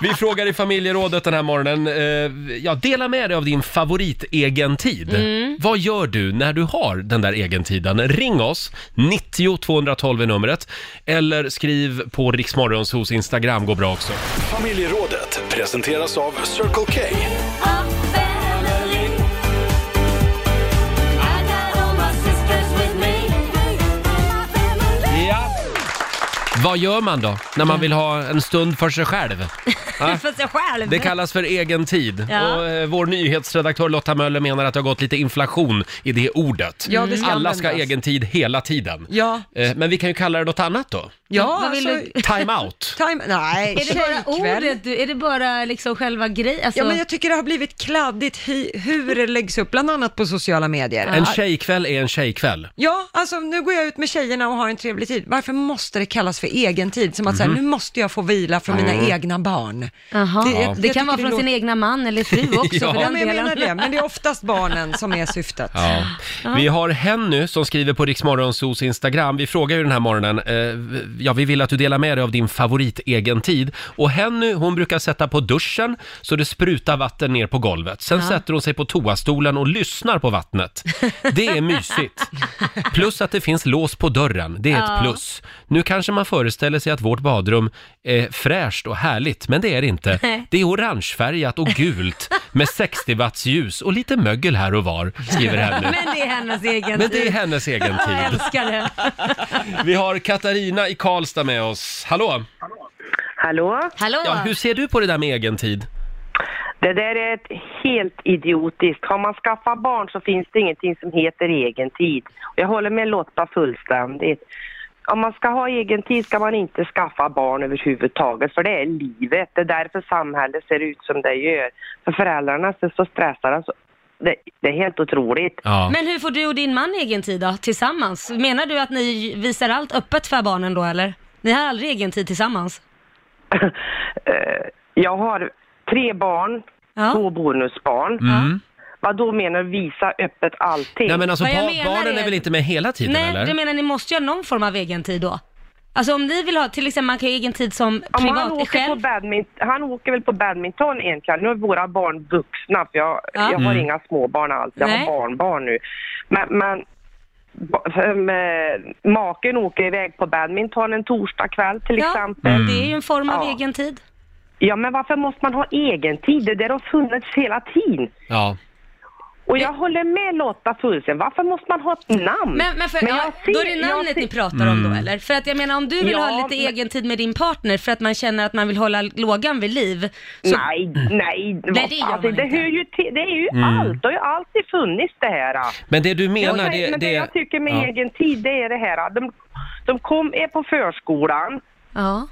Speaker 1: Vi frågar i familjerådet den här morgonen. Eh, ja, dela med dig av din favorit-egen tid.
Speaker 2: Mm.
Speaker 1: Vad gör du när du har den där egen tiden? Ring oss, 90 212 är numret. Eller skriv på Riksmorgons hos Instagram, går bra också.
Speaker 4: Familjerådet presenteras av Circle K.
Speaker 1: Ja. Vad gör man då när man vill ha en stund för sig själv? Ja.
Speaker 2: För sig själv.
Speaker 1: Det kallas för egen tid
Speaker 2: Ja.
Speaker 1: och eh, vår nyhetsredaktör Lotta Möller menar att det har gått lite inflation i det ordet.
Speaker 3: Ja, det ska
Speaker 1: Alla ska ha
Speaker 3: användas.
Speaker 1: egen tid hela tiden.
Speaker 3: Ja.
Speaker 1: Eh, Men vi kan ju kalla det något annat då.
Speaker 3: Ja,
Speaker 2: Vad vill
Speaker 3: alltså,
Speaker 1: Time out.
Speaker 3: time, nej,
Speaker 2: Är det bara
Speaker 3: tjejkväll.
Speaker 2: ordet, du, är det bara liksom själva grejen? Alltså,
Speaker 3: Ja, men jag tycker det har blivit kladdigt hi- hur det läggs upp, bland annat på sociala medier.
Speaker 1: En tjejkväll är en tjejkväll.
Speaker 3: Ja, alltså nu går jag ut med tjejerna och har en trevlig tid. Varför måste det kallas för egen tid? Som att säga, nu måste jag få vila från mina
Speaker 1: Mm.
Speaker 3: egna barn.
Speaker 2: Jaha.
Speaker 3: Det-
Speaker 2: Det,
Speaker 3: jag- jag tycker
Speaker 2: kan vara
Speaker 3: det
Speaker 2: från sin
Speaker 3: låter-
Speaker 2: egna man eller fru också
Speaker 1: Ja.
Speaker 2: för
Speaker 3: Ja,
Speaker 2: den
Speaker 3: men jag
Speaker 2: delen.
Speaker 3: menar det, men det är oftast barnen som är syftet.
Speaker 1: Ja. Vi har Henny som skriver på Riksmorgonsos Instagram. Vi frågar ju den här morgonen, eh, ja vi vill att du delar med dig av din favorit egen tid. Och Henny hon brukar sätta på duschen så det sprutar vatten ner på golvet. Sen
Speaker 2: Ja.
Speaker 1: sätter hon sig på toastolen och lyssnar på vattnet. Det är mysigt. Plus att det finns lås på dörren, det är
Speaker 2: Ja.
Speaker 1: ett plus. Nu kanske man föreställer sig att vårt badrum är fräscht och härligt, men det är det inte.
Speaker 2: Nej.
Speaker 1: Det är orangefärgat och gult med 60 watts ljus och lite mögel här och var, skriver Henny.
Speaker 2: Men det är hennes egen
Speaker 1: Men det
Speaker 2: tid.
Speaker 1: är hennes egen
Speaker 2: Ja, Jag
Speaker 1: tid.
Speaker 2: älskar det.
Speaker 1: Vi har Katarina i Karlstad med oss. Hallå!
Speaker 11: Hallå?
Speaker 2: Hallå!
Speaker 1: Ja, hur ser du på det där med egen tid?
Speaker 11: Det där är ett helt idiotiskt. Har man skaffat barn så finns det ingenting som heter egen tid. Och Jag håller med Lotta fullständigt. Om man ska ha egen tid ska man inte skaffa barn överhuvudtaget för det är livet. Det är därför samhället ser ut som det gör. För föräldrarna ser så stressade. Så det, det är helt otroligt.
Speaker 1: Ja.
Speaker 2: Men hur får du och din man egen tid då, tillsammans? Menar du att ni visar allt öppet för barnen då eller? Ni har aldrig egen tid tillsammans?
Speaker 11: Eh, Jag har tre barn,
Speaker 2: Ja.
Speaker 11: två bonusbarn.
Speaker 1: Mm.
Speaker 11: Vad då menar du visa öppet allting?
Speaker 1: Nej men alltså
Speaker 2: Vad jag
Speaker 1: ba-
Speaker 2: menar
Speaker 1: barnen
Speaker 2: är-
Speaker 1: är väl inte med hela tiden
Speaker 2: Nej,
Speaker 1: eller?
Speaker 2: jag menar ni måste ju ha någon form av egen tid då. Alltså om ni vill ha, till exempel man kan ju ha egen tid som
Speaker 11: Ja, men han,
Speaker 2: privat
Speaker 11: åker på
Speaker 2: själv.
Speaker 11: badminton, han åker väl på badminton egentligen. Nu är våra barn vuxna för jag,
Speaker 2: Ja.
Speaker 11: jag har
Speaker 1: Mm.
Speaker 11: inga småbarn alls. Jag
Speaker 2: Nej.
Speaker 11: har barnbarn nu. Men, men ba- för- med, maken åker iväg på badminton en torsdag kväll till
Speaker 2: Ja, Mm.
Speaker 11: exempel.
Speaker 2: det är ju en form av
Speaker 11: Ja.
Speaker 2: egen tid.
Speaker 11: Ja men varför måste man ha egen tid? Det där har funnits hela tiden.
Speaker 1: Ja.
Speaker 11: Och jag håller med Lotta Fullsen. Varför måste man ha ett namn?
Speaker 2: Men, men för, ja,
Speaker 11: jag
Speaker 2: då
Speaker 11: ser-
Speaker 2: är det
Speaker 11: jag
Speaker 2: namnet
Speaker 11: ser-
Speaker 2: ni pratar om
Speaker 1: Mm.
Speaker 2: då eller? För att jag menar om du vill
Speaker 11: Ja,
Speaker 2: ha lite
Speaker 11: men-
Speaker 2: egen tid med din partner för att man känner att man vill hålla lågan vid liv. Så,
Speaker 11: Nej, nej. vad
Speaker 2: det gör
Speaker 11: fan,
Speaker 2: man
Speaker 11: det,
Speaker 2: inte.
Speaker 11: hör ju till, det är ju allt. Det har ju alltid funnits det här.
Speaker 1: Men det du
Speaker 11: Ja,
Speaker 1: menar
Speaker 11: nej,
Speaker 1: det...
Speaker 11: men det, jag tycker med
Speaker 1: ja.
Speaker 11: egen tid, det är det här. De, de kom, är på förskolan
Speaker 2: ja.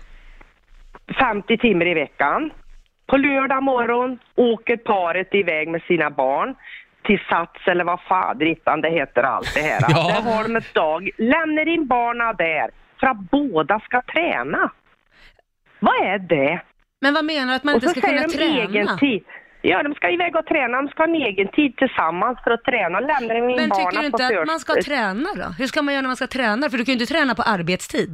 Speaker 11: 50 timmar i veckan. På lördag morgon åker paret iväg med sina barn till Sats eller vad fadrittan det heter allt det här.
Speaker 1: Ja.
Speaker 11: Där har de ett dag. Lämnar in barna där för att båda ska träna. Vad är det?
Speaker 2: Men vad menar du att man inte ska kunna träna?
Speaker 11: egen tid. Ja, de ska iväg och träna. De ska ha en egen tid tillsammans för att träna. Lämnar in
Speaker 2: Men
Speaker 11: barnen
Speaker 2: tycker du
Speaker 11: på
Speaker 2: inte att
Speaker 11: förs-
Speaker 2: man ska träna då? Hur ska man göra när man ska träna? För du kan ju inte träna på arbetstid.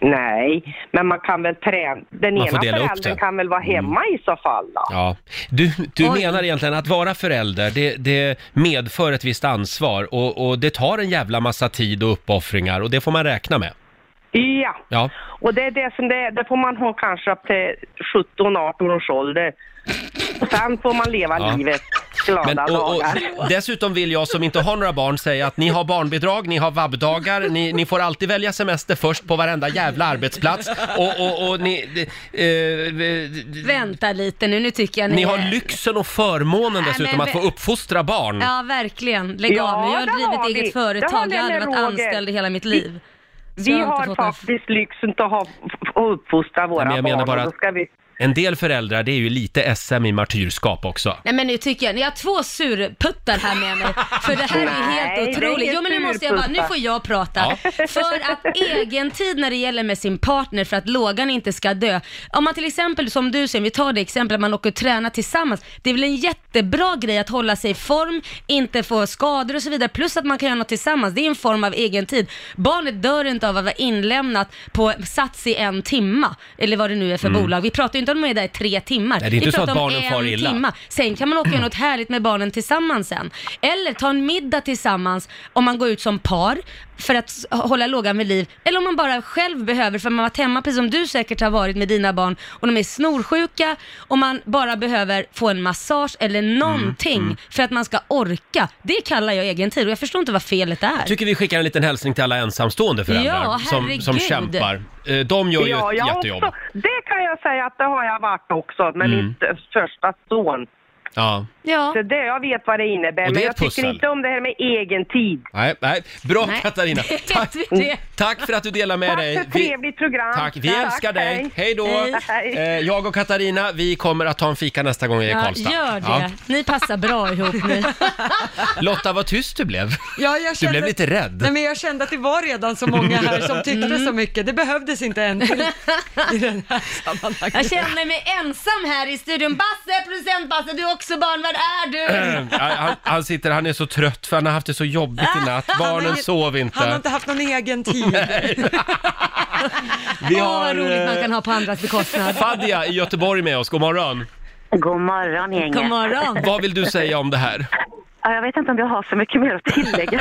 Speaker 11: Nej, men man kan väl träna. Den
Speaker 1: Man får
Speaker 11: ena
Speaker 1: dela upp
Speaker 11: föräldern
Speaker 1: det. Mm.
Speaker 11: kan väl vara hemma i så fall då?
Speaker 1: Ja. Du, du
Speaker 2: Oj.
Speaker 1: menar egentligen att vara förälder, det, det medför ett visst ansvar och, och det tar en jävla massa tid och uppoffringar och det får man räkna med.
Speaker 11: Ja.
Speaker 1: Ja.
Speaker 11: Och det är det som det är. Det får man ha kanske upp till 17-18 års ålder. Och sen får man leva
Speaker 1: Ja.
Speaker 11: livet glada
Speaker 1: Men, och, och,
Speaker 11: dagar.
Speaker 1: dessutom vill jag som inte har några barn säga att ni har barnbidrag, ni har vabbdagar, ni, ni får alltid välja semester först på varenda jävla arbetsplats och, och, och ni, de- eh, de-
Speaker 2: Vänta lite nu, nu tycker jag
Speaker 1: ni har
Speaker 2: är-
Speaker 1: lyxen och förmånen
Speaker 2: Nej,
Speaker 1: dessutom
Speaker 2: men
Speaker 1: att få
Speaker 2: vi-
Speaker 1: uppfostra barn.
Speaker 2: Ja, verkligen. Lägg
Speaker 11: Ja,
Speaker 2: av nu. Jag
Speaker 11: det
Speaker 2: har
Speaker 11: har
Speaker 2: drivit
Speaker 11: vi.
Speaker 2: eget
Speaker 11: Det håller
Speaker 2: företag. Jag har
Speaker 11: jag
Speaker 2: aldrig
Speaker 11: med
Speaker 2: varit
Speaker 11: Roger.
Speaker 2: anställd i hela mitt liv.
Speaker 11: Vi
Speaker 2: jag har inte
Speaker 11: har
Speaker 2: fått
Speaker 11: faktiskt lyxen att ha, att uppfostra våra
Speaker 1: men jag menar
Speaker 11: barn.
Speaker 1: bara
Speaker 11: och då
Speaker 1: att-
Speaker 11: ska vi...
Speaker 1: En del föräldrar, det är ju lite SM i martyrskap också.
Speaker 2: Nej men nu tycker jag, ni har två surputtar här med mig. För det här är
Speaker 11: Nej, det är
Speaker 2: helt otroligt.
Speaker 11: inget
Speaker 2: Jo men nu måste jag bara, nu
Speaker 11: surputta.
Speaker 2: får jag prata. För att egentid när det gäller med sin partner för att lågan inte ska dö. Om man till exempel, som du säger, vi tar det exemplet, man åker och tränar tillsammans. Det är väl en jättebra grej att hålla sig i form, inte få skador och så vidare. Plus att man kan göra något tillsammans. Det är en form av egentid. Barnet dör inte av att vara inlämnat på sats i en timma. Eller vad det nu är för
Speaker 1: Mm.
Speaker 2: bolag. Vi pratar ju inte om de är där i tre timmar.
Speaker 1: Nej, det är inte
Speaker 2: Vi
Speaker 1: så
Speaker 2: pratar
Speaker 1: att
Speaker 2: om
Speaker 1: barnen
Speaker 2: en
Speaker 1: far illa.
Speaker 2: timma. Sen kan man åka och göra något härligt med barnen tillsammans sen. Eller ta en middag tillsammans om man går ut som par för att s- hålla lågan vid liv. Eller om man bara själv behöver, för man har varit hemma precis som du säkert har varit med dina barn och de är snorsjuka och man bara behöver få en massage eller
Speaker 1: Mm,
Speaker 2: någonting för att man ska orka. Det kallar jag egen tid och jag förstår inte vad felet är.
Speaker 1: Jag tycker vi skickar en liten hälsning till alla ensamstående föräldrar
Speaker 2: Ja,
Speaker 1: som, som
Speaker 2: herregud.
Speaker 1: kämpar. Eh, De gör ju
Speaker 11: Ja,
Speaker 1: ett
Speaker 11: jag
Speaker 1: jättejobb.
Speaker 11: också. Det kan jag säga att det har jag varit också med
Speaker 1: Mm.
Speaker 11: mitt eh, första son.
Speaker 1: Ja.
Speaker 11: Så det, jag vet vad det innebär,
Speaker 1: Och det
Speaker 11: men
Speaker 1: är
Speaker 11: jag
Speaker 1: ett
Speaker 11: tycker
Speaker 1: pussel.
Speaker 11: inte om det här med egen tid.
Speaker 1: Nej, nej. Bra
Speaker 11: Nej,
Speaker 1: Katarina!
Speaker 11: det vet
Speaker 1: Tack,
Speaker 11: vi det.
Speaker 1: tack för att du delar med
Speaker 11: Tack
Speaker 1: dig.
Speaker 11: för ett trevligt program.
Speaker 1: Tack, vi
Speaker 11: Tack,
Speaker 1: älskar dig.
Speaker 11: hej.
Speaker 1: Hej då!
Speaker 11: Hej.
Speaker 1: Eh, Jag och Katarina, vi kommer att ta en fika nästa gång jag är i
Speaker 2: Ja,
Speaker 1: Karlstad.
Speaker 2: gör det.
Speaker 1: Ja.
Speaker 2: Ni passar bra ihop ni.
Speaker 1: Lotta, vad tyst du blev.
Speaker 3: Ja, jag
Speaker 1: Du
Speaker 3: kände,
Speaker 1: blev lite rädd.
Speaker 3: Nej, men jag kände att det var redan så många här som tyckte
Speaker 2: Mm.
Speaker 3: så mycket. Det behövdes inte en till i den här sammanhanget.
Speaker 2: Jag känner mig ensam här i studion. Basse, producent Basse, du är också barnvärd, är du?
Speaker 1: Ja, han, han sitter, han är så trött för han har haft det så jobbigt i natt.
Speaker 2: Han har
Speaker 1: Barnen
Speaker 2: inget-
Speaker 1: sov inte.
Speaker 3: Han har inte haft någon egen tid.
Speaker 1: Vi
Speaker 2: Åh,
Speaker 1: har,
Speaker 2: vad roligt man
Speaker 1: eh,
Speaker 2: kan ha på andras bekostnad.
Speaker 1: Fadia i Göteborg med oss, god morgon.
Speaker 12: God morgon gänget.
Speaker 2: God morgon.
Speaker 1: Vad vill du säga om det här?
Speaker 12: Ja, Jag vet inte om jag har så mycket mer att tillägga.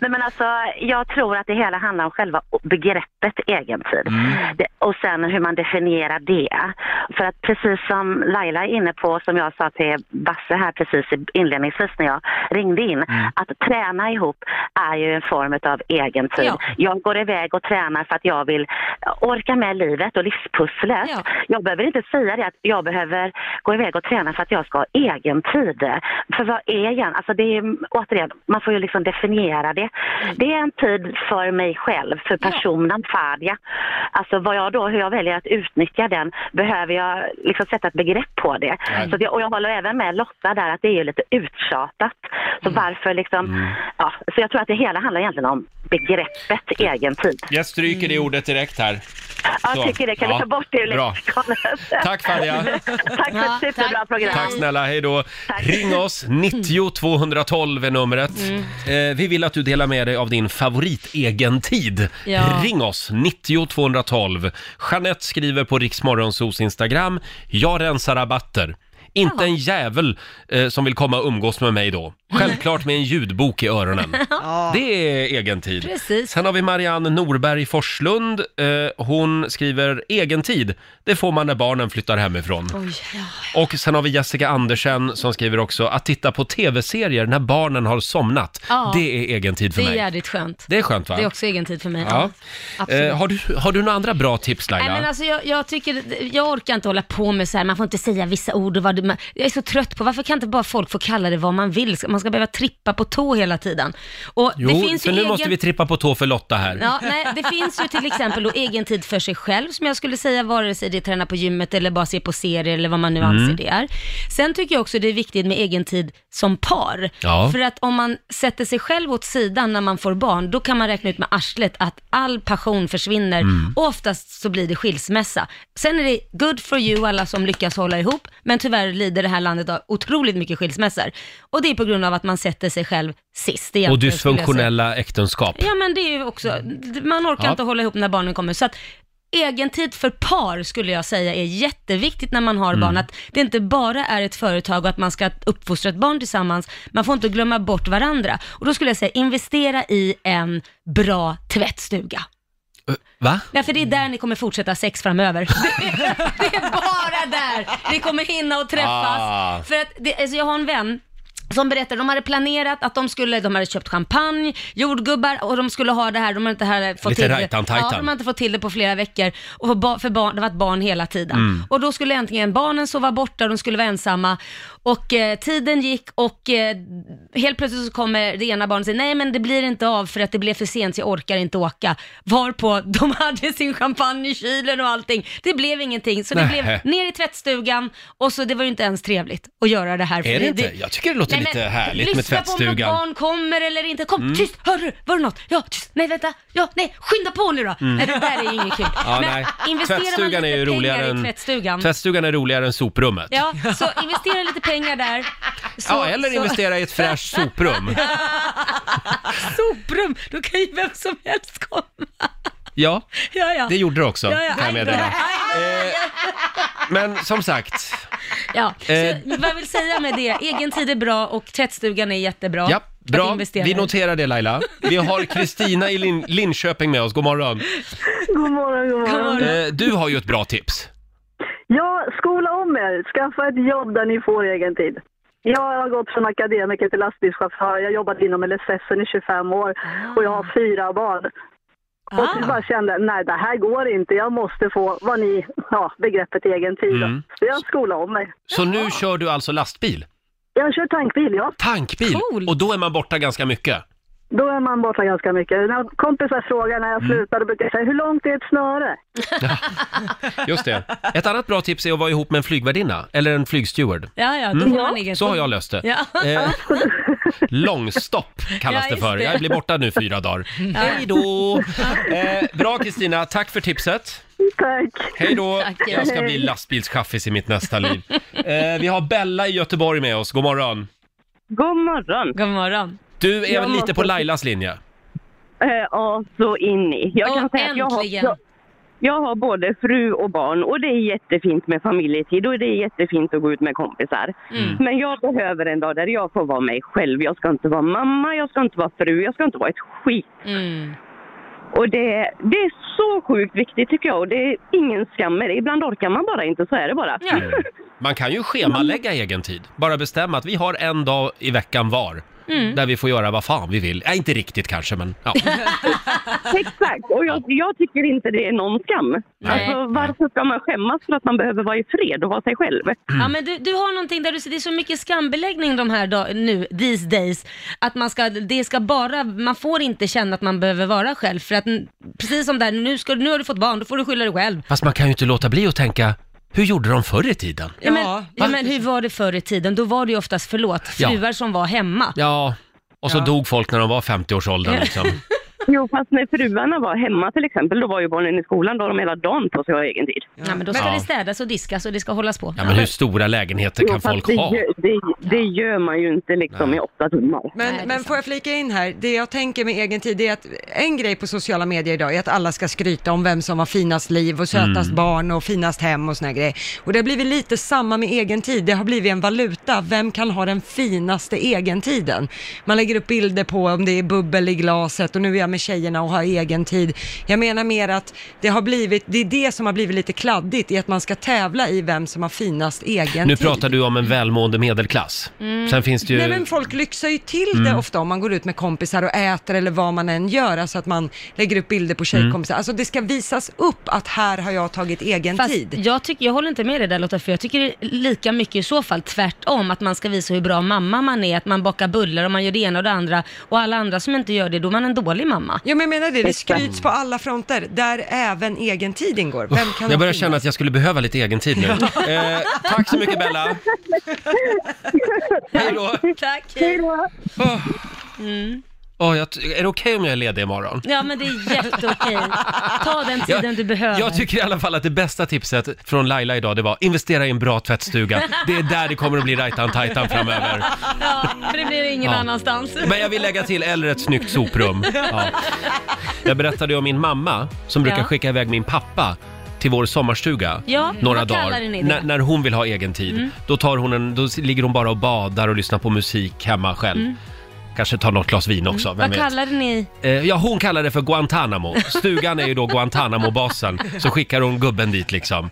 Speaker 12: Nej, men alltså, jag tror att det hela handlar om själva begreppet egentid. Det, och sen hur man definierar det. För att precis som Laila är inne på, som jag sa till Basse här precis i- inledningsvis när jag ringde in, att träna ihop är ju en form av egentid.
Speaker 13: Ja.
Speaker 12: Jag går iväg och tränar för att jag vill orka med livet och livspusslet. Jag behöver inte säga det att jag behöver gå iväg och träna för att jag ska ha egen tid. För vad är jag? Alltså det är, återigen, man får ju liksom definiera det.
Speaker 1: Mm.
Speaker 12: Det är en tid för mig själv, för personen Fadia. Alltså vad jag då, hur jag väljer att utnyttja den, behöver jag liksom sätta ett begrepp på det.
Speaker 1: Mm.
Speaker 13: Nej.
Speaker 12: Så det och jag håller även med Lotta där att det är ju lite uttjatat. Så
Speaker 1: Mm.
Speaker 12: varför liksom, ja, så jag tror att det hela handlar egentligen om begreppet egen tid.
Speaker 1: Jag stryker
Speaker 2: Mm.
Speaker 1: det ordet direkt här.
Speaker 12: Ja,
Speaker 1: Så,
Speaker 12: jag tycker det. Kan
Speaker 1: ja,
Speaker 12: vi ta bort det ur
Speaker 1: bra.
Speaker 12: lexikonet?
Speaker 1: Tack, Fadia.
Speaker 12: tack för ett superbra program.
Speaker 1: Tack snälla, hej då. Ring oss, 90 212 är numret.
Speaker 2: Mm.
Speaker 1: Eh, vi vill att du delar med dig av din favorit egen tid.
Speaker 2: Ja.
Speaker 1: Ring oss, 90 212. Jeanette skriver på Riksmorgonsos Instagram, jag rensar rabatter. Inte en jävel eh, som vill komma och umgås med mig då. Självklart med en ljudbok i öronen. Det är egen tid.
Speaker 2: Precis.
Speaker 1: Sen har vi Marianne Norberg Forslund. Eh, hon skriver egen tid. Det får man när barnen flyttar hemifrån.
Speaker 2: Oj.
Speaker 1: Och sen har vi Jessica Andersen som skriver också att titta på tv-serier när barnen har somnat.
Speaker 2: Ja.
Speaker 1: Det är egen tid för
Speaker 2: Det är
Speaker 1: mig.
Speaker 2: jävligt skönt.
Speaker 1: Det är skönt va?
Speaker 2: Det är också egen tid för mig.
Speaker 1: Ja.
Speaker 2: Absolut.
Speaker 1: Eh, har, du, har du några andra bra tips Laila?
Speaker 2: Nej, men alltså, jag, jag, tycker, jag orkar inte hålla på med så här, man får inte säga vissa ord och vad det- man, Jag är så trött på, varför kan inte bara folk få kalla det vad man vill? Ska- Man ska behöva trippa på tå hela tiden. Och
Speaker 1: Jo,
Speaker 2: det finns
Speaker 1: för
Speaker 2: ju
Speaker 1: nu
Speaker 2: egen...
Speaker 1: måste vi trippa på tå för Lotta här.
Speaker 2: Ja, nej, det finns ju till exempel då egen tid för sig själv som jag skulle säga vare sig det är träna på gymmet eller bara se på serier eller vad man nu
Speaker 13: Mm.
Speaker 2: anser det är. Sen tycker jag också det är viktigt med egen tid som par.
Speaker 13: Ja.
Speaker 2: För att om man sätter sig själv åt sidan när man får barn, då kan man räkna ut med arslet att all passion försvinner
Speaker 13: Mm.
Speaker 2: och oftast så blir det skilsmässa. Sen är det good for you alla som lyckas hålla ihop, men tyvärr lider det här landet av otroligt mycket skilsmässor. Och det är på grund av att man sätter sig själv sist. egentligen,
Speaker 1: Och
Speaker 2: skulle jag säga.
Speaker 1: dysfunktionella äktenskap.
Speaker 2: Ja men det är ju också, man orkar
Speaker 1: Ja.
Speaker 2: inte hålla ihop när barnen kommer. Så att egentid för par skulle jag säga är jätteviktigt när man har
Speaker 13: Mm.
Speaker 2: barn. Att det inte bara är ett företag och att man ska uppfostra ett barn tillsammans. Man får inte glömma bort varandra. Och då skulle jag säga investera i en bra tvättstuga.
Speaker 1: Va?
Speaker 2: Nej, för det är där ni kommer fortsätta ha sex framöver. Det är, det är bara där ni kommer hinna och träffas.
Speaker 13: Ah.
Speaker 2: För att, det, alltså jag har en vän som berättade, de hade planerat att de skulle, de hade köpt champagne, jordgubbar och de skulle ha det här, de hade inte här fått
Speaker 1: Lite
Speaker 2: till det.
Speaker 1: rajtan-tajtan.
Speaker 2: Ja, de hade inte fått till det på flera veckor. Och för ba- för barn, det var ett barn hela tiden.
Speaker 1: Mm.
Speaker 2: Och då skulle äntligen barnen sova borta, de skulle vara ensamma. Och eh, tiden gick och eh, helt plötsligt så kommer det ena barnet och säger, nej men det blir inte av för att det blev för sent, så jag orkar inte åka. Varpå de hade sin champagne i kylen och allting. Det blev ingenting, så det
Speaker 1: Nähä.
Speaker 2: blev ner i tvättstugan och så det var ju inte ens trevligt att göra det här. för
Speaker 1: Är det inte? Jag tycker det låter
Speaker 2: Nej, men
Speaker 1: lite härligt med
Speaker 2: Lyssna på
Speaker 1: tvättstugan.
Speaker 2: om något barn kommer eller inte. Kom,
Speaker 1: Mm.
Speaker 2: tyst, hör du? Var det något? Ja, tyst, nej vänta, ja, nej, skynda på nu då.
Speaker 1: Mm.
Speaker 2: Nej, det där är ju inget kul.
Speaker 1: Ja, nej.
Speaker 2: investerar man lite
Speaker 1: Tvättstugan är ju
Speaker 2: pengar
Speaker 1: roligare
Speaker 2: i
Speaker 1: än,
Speaker 2: tvättstugan.
Speaker 1: tvättstugan är roligare än soprummet.
Speaker 2: Ja, så investera lite pengar där. Så,
Speaker 1: ja, eller
Speaker 2: så-
Speaker 1: investera i ett fräscht soprum.
Speaker 2: Soprum, då kan ju vem som helst komma.
Speaker 1: Ja,
Speaker 2: Ja, ja.
Speaker 1: det gjorde det också,
Speaker 2: Ja, ja.
Speaker 1: kan jag meddela. Eh. Men som sagt,
Speaker 2: Ja, så
Speaker 1: Eh.
Speaker 2: vad jag vill säga med det, egen tid är bra och tvättstugan är jättebra.
Speaker 1: ja,
Speaker 2: att
Speaker 1: bra.
Speaker 2: investera
Speaker 1: Vi
Speaker 2: i.
Speaker 1: noterar det Laila. Vi har Kristina i Lin- Linköping med oss, god morgon.
Speaker 13: God morgon, god morgon.
Speaker 1: Eh, Du har ju ett bra tips.
Speaker 13: Ja, skola om er. Skaffa ett jobb där ni får egen tid. Jag har gått från akademiker till lastbilschaufför. Jag har jobbat inom LSS i 25 år och jag har fyra barn. Och jag bara kände, nej det här går inte. Jag måste få vad ni, ja, begreppet egen tid. då.
Speaker 1: Mm.
Speaker 13: Så jag skolade om mig.
Speaker 1: Så nu kör du alltså lastbil?
Speaker 13: Jag kör tankbil, ja.
Speaker 1: Tankbil? Och då är man borta ganska mycket?
Speaker 13: Då är man borta ganska mycket. När kompisar frågar när jag slutar, då brukar jag säga, hur långt är ett snöre?
Speaker 1: Just det. Ett annat bra tips är att vara ihop med en flygvärdinna, eller en flygsteward. Mm.
Speaker 2: Ja, ja, då får man egen
Speaker 1: Så har
Speaker 2: tid.
Speaker 1: jag löst det.
Speaker 2: Ja.
Speaker 1: Eh, långstopp kallas
Speaker 2: Ja,
Speaker 1: det
Speaker 2: just
Speaker 1: för.
Speaker 2: det.
Speaker 1: Jag blir borta nu fyra dagar.
Speaker 2: Ja.
Speaker 1: Hej då! Eh, bra Kristina, tack för tipset.
Speaker 13: Tack.
Speaker 1: Hej då!
Speaker 13: Tack.
Speaker 1: Jag ska bli lastbilschaffis i mitt nästa liv. Eh, vi har Bella i Göteborg med oss, god morgon.
Speaker 14: God morgon.
Speaker 2: God morgon.
Speaker 1: Du är
Speaker 14: Jag
Speaker 1: väl lite
Speaker 14: måste-
Speaker 1: på Lailas linje?
Speaker 14: Eh, Ja, så in i. Jag kan säga att jag har,
Speaker 2: äntligen.
Speaker 14: jag, jag har både fru och barn och det är jättefint med familjetid och det är jättefint att gå ut med kompisar. Men jag behöver en dag där jag får vara mig själv. Jag ska inte vara mamma, jag ska inte vara fru, jag ska inte vara ett skit.
Speaker 2: Mm.
Speaker 14: Och det, det är så sjukt viktigt tycker jag och det är ingen skam med det. Ibland orkar man bara inte, så är det bara.
Speaker 1: Man kan ju schemalägga egen tid. Bara bestämma att vi har en dag i veckan var.
Speaker 14: Mm.
Speaker 1: Där vi får göra vad fan vi vill. Nej, inte riktigt kanske, men ja.
Speaker 14: Exakt, och jag, jag tycker inte det är någon skam.
Speaker 1: Nej.
Speaker 14: Alltså, varför ska man skämmas för att man behöver vara i fred och vara sig själv?
Speaker 2: Ja, men du, du har någonting där du ser, det är så mycket skambeläggning de här dag, nu, these days, att man ska, det ska bara, man får inte känna att man behöver vara själv, för att n- precis som där, nu, ska, nu har du fått barn, då får du skylla dig själv.
Speaker 1: Fast man kan ju inte låta bli att tänka, hur gjorde de förr i tiden?
Speaker 2: Ja, men, ja, men hur var det förr i tiden? Då var det ju oftast, förlåt,
Speaker 1: Ja.
Speaker 2: fruar som var hemma.
Speaker 1: Ja, och så
Speaker 2: Ja.
Speaker 1: dog folk när de var 50-årsåldern liksom.
Speaker 14: Jo, fast när fruarna var hemma till exempel, då var ju barnen i skolan, då har de hela dagen på sig att ha egen tid.
Speaker 2: Ja, men då ska
Speaker 1: Ja.
Speaker 2: det städas och diskas och det ska hållas på.
Speaker 1: Ja, men hur stora lägenheter kan folk
Speaker 14: det,
Speaker 1: ha?
Speaker 14: gör- det, det gör man ju inte liksom i åtta timmar.
Speaker 3: Men, men får jag flika in här, det jag tänker med egen tid är att en grej på sociala medier idag är att alla ska skryta om vem som har finast liv och sötast
Speaker 15: Mm.
Speaker 3: barn och finast hem och såna här grejer. Och det har blivit lite samma med egen tid, det har blivit en valuta, vem kan ha den finaste egen tiden? Man lägger upp bilder på om det är bubbel i glaset och nu är jag med tjejerna och har egen tid. Jag menar mer att det har blivit, det är det som har blivit lite kladdigt, i att man ska tävla i vem som har finast egen
Speaker 1: Nu
Speaker 3: tid.
Speaker 1: pratar du om en välmående medelklass.
Speaker 3: Mm.
Speaker 1: Sen finns det ju...
Speaker 3: Nej men folk lyxar ju till
Speaker 1: Mm.
Speaker 3: det ofta om man går ut med kompisar och äter eller vad man än gör, alltså att man lägger upp bilder på
Speaker 1: Mm.
Speaker 3: tjejkompisar. Alltså det ska visas upp att här har jag tagit egen
Speaker 2: Fast
Speaker 3: tid.
Speaker 2: jag, tycker, jag håller inte med dig där Lotta, för jag tycker det är lika mycket i så fall tvärtom, att man ska visa hur bra mamma man är, att man bakar bullar och man gör det ena och det andra, och alla andra som inte gör det, då är man en dålig mamma.
Speaker 3: Ja men jag menar det, det skryts på alla fronter, där även egen tid ingår. Vem kan
Speaker 1: Jag börjar
Speaker 3: finnas?
Speaker 1: känna att jag skulle behöva lite egen tid nu. Eh, tack så mycket Bella! Hej då!
Speaker 2: Tack! Hej
Speaker 13: då!
Speaker 2: Mm.
Speaker 1: Åh, jag, är det okej om jag är ledig imorgon?
Speaker 2: Ja men det är jätteokej. Ta den tiden du behöver.
Speaker 1: Jag tycker i alla fall att det bästa tipset från Laila idag det var investera i en bra tvättstuga. Det är där det kommer att bli rajtan-tajtan framöver.
Speaker 2: Ja, för det blir ingen
Speaker 1: Ja.
Speaker 2: annanstans.
Speaker 1: Men jag vill lägga till eller ett snyggt soprum. Ja. Jag berättade ju om min mamma som brukar
Speaker 2: Ja.
Speaker 1: skicka iväg min pappa till vår sommarstuga
Speaker 2: Ja,
Speaker 1: några
Speaker 2: vad kallar
Speaker 1: dagar.
Speaker 2: ni det?
Speaker 1: När, när hon vill ha egen tid.
Speaker 2: Mm.
Speaker 1: Då, tar hon en, då ligger hon bara och badar och lyssnar på musik hemma själv.
Speaker 2: Mm.
Speaker 1: Kanske ta något glas vin också, vem
Speaker 2: Vad
Speaker 1: vet?
Speaker 2: kallade ni?
Speaker 1: Eh, Ja, hon kallar det för Guantanamo. Stugan är ju då Guantanamo-basen. Så skickar hon gubben dit liksom.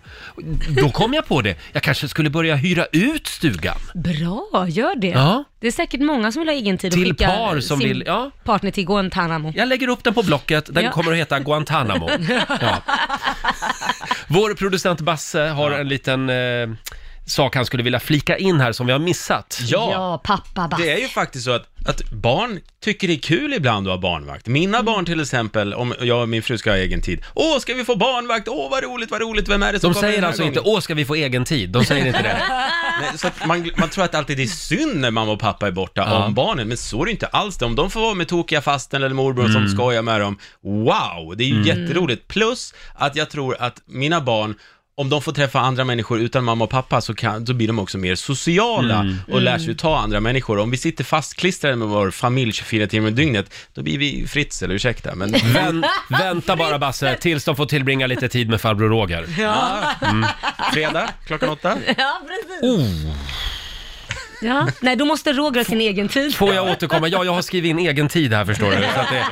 Speaker 1: Då kom jag på det. Jag kanske skulle börja hyra ut stugan.
Speaker 2: Bra, gör det.
Speaker 1: Ja.
Speaker 2: Det är säkert många som vill ha egen tid och
Speaker 1: Till
Speaker 2: skicka
Speaker 1: par som
Speaker 2: sin
Speaker 1: vill- ja.
Speaker 2: partner till Guantanamo.
Speaker 1: Jag lägger upp den på Blocket. Den
Speaker 2: Ja.
Speaker 1: kommer att heta Guantanamo. Ja. Vår producent Basse har en liten eh, sak han skulle vilja flika in här som vi har missat.
Speaker 2: pappa Bass.
Speaker 5: Det är ju faktiskt så att, att barn tycker det är kul ibland att ha barnvakt. Mina barn till exempel, om jag och min fru ska ha egen tid. Åh, ska vi få barnvakt? Åh, vad roligt, vad roligt, vem är det som
Speaker 1: De
Speaker 5: kommer
Speaker 1: säger
Speaker 5: den här
Speaker 1: alltså
Speaker 5: gången?
Speaker 1: inte åh ska vi få egen tid, de säger inte det.
Speaker 5: Nej, så att man, man tror att alltid det är synd när mamma och pappa är borta
Speaker 1: Ja.
Speaker 5: om barnen, men så är det ju inte alls. Om de får vara med tokiga fasten eller morbror
Speaker 1: Mm.
Speaker 5: som skojar med dem, wow, det är ju
Speaker 1: Mm.
Speaker 5: jätteroligt. Plus att jag tror att mina barn, om de får träffa andra människor utan mamma och pappa så, kan, så blir de också mer sociala
Speaker 1: Mm.
Speaker 5: och lär sig ta andra människor. Om vi sitter fastklistrade med vår familj 24 timmar om dygnet, då blir vi Fritzl, ursäkta, men...
Speaker 1: Vänt, vänta bara Basse, tills de får tillbringa lite tid med farbror Roger.
Speaker 2: Ja.
Speaker 1: Mm.
Speaker 5: Fredag, klockan åtta.
Speaker 2: Ja, precis.
Speaker 1: Oh.
Speaker 2: Ja. Nej, då måste Roger ha sin egen tid.
Speaker 1: Får jag återkomma? Ja, jag har skrivit in egen tid här förstår du. Så att det...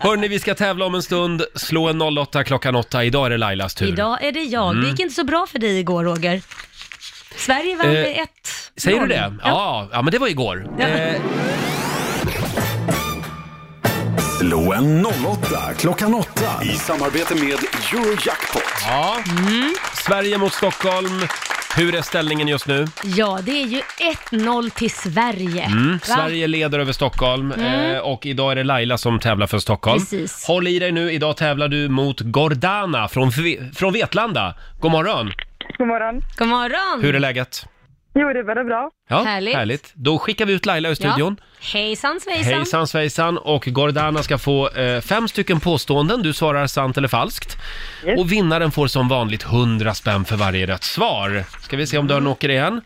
Speaker 1: Hörni, vi ska tävla om en stund. Slå en 08 klockan 8. Idag är det Lailas tur.
Speaker 2: Idag är det jag.
Speaker 1: Mm.
Speaker 2: Det gick inte så bra för dig igår, Roger. Sverige vann
Speaker 1: Eh,
Speaker 2: med ett.
Speaker 1: Säger du
Speaker 2: noll.
Speaker 1: det? Ja, ja men det var igår. Eh,
Speaker 4: Slå en 08 klockan 8 i samarbete med Eurojackpot.
Speaker 1: Ja.
Speaker 2: Mm.
Speaker 1: Sverige mot Stockholm. Hur är ställningen just nu?
Speaker 2: Ja, det är ju 1-0 till Sverige.
Speaker 1: Mm.
Speaker 2: Va?
Speaker 1: Sverige leder över Stockholm
Speaker 2: Mm.
Speaker 1: eh, och idag är det Laila som tävlar för Stockholm.
Speaker 2: Precis.
Speaker 1: Håll i dig nu, idag tävlar du mot Gordana från, Ve- från Vetlanda. God morgon!
Speaker 15: God morgon.
Speaker 2: God morgon!
Speaker 1: Hur är läget?
Speaker 15: Jo, det är väldigt bra.
Speaker 1: Ja,
Speaker 2: Härligt.
Speaker 1: Då skickar vi ut Laila ur studion.
Speaker 2: Ja. Hejsan svejsan.
Speaker 1: Hejsan svejsan! Och Gordana ska få eh, fem stycken påståenden. Du svarar sant eller falskt. Och vinnaren får som vanligt 100 spänn för varje rätt svar. Ska vi se om dörren åker igen.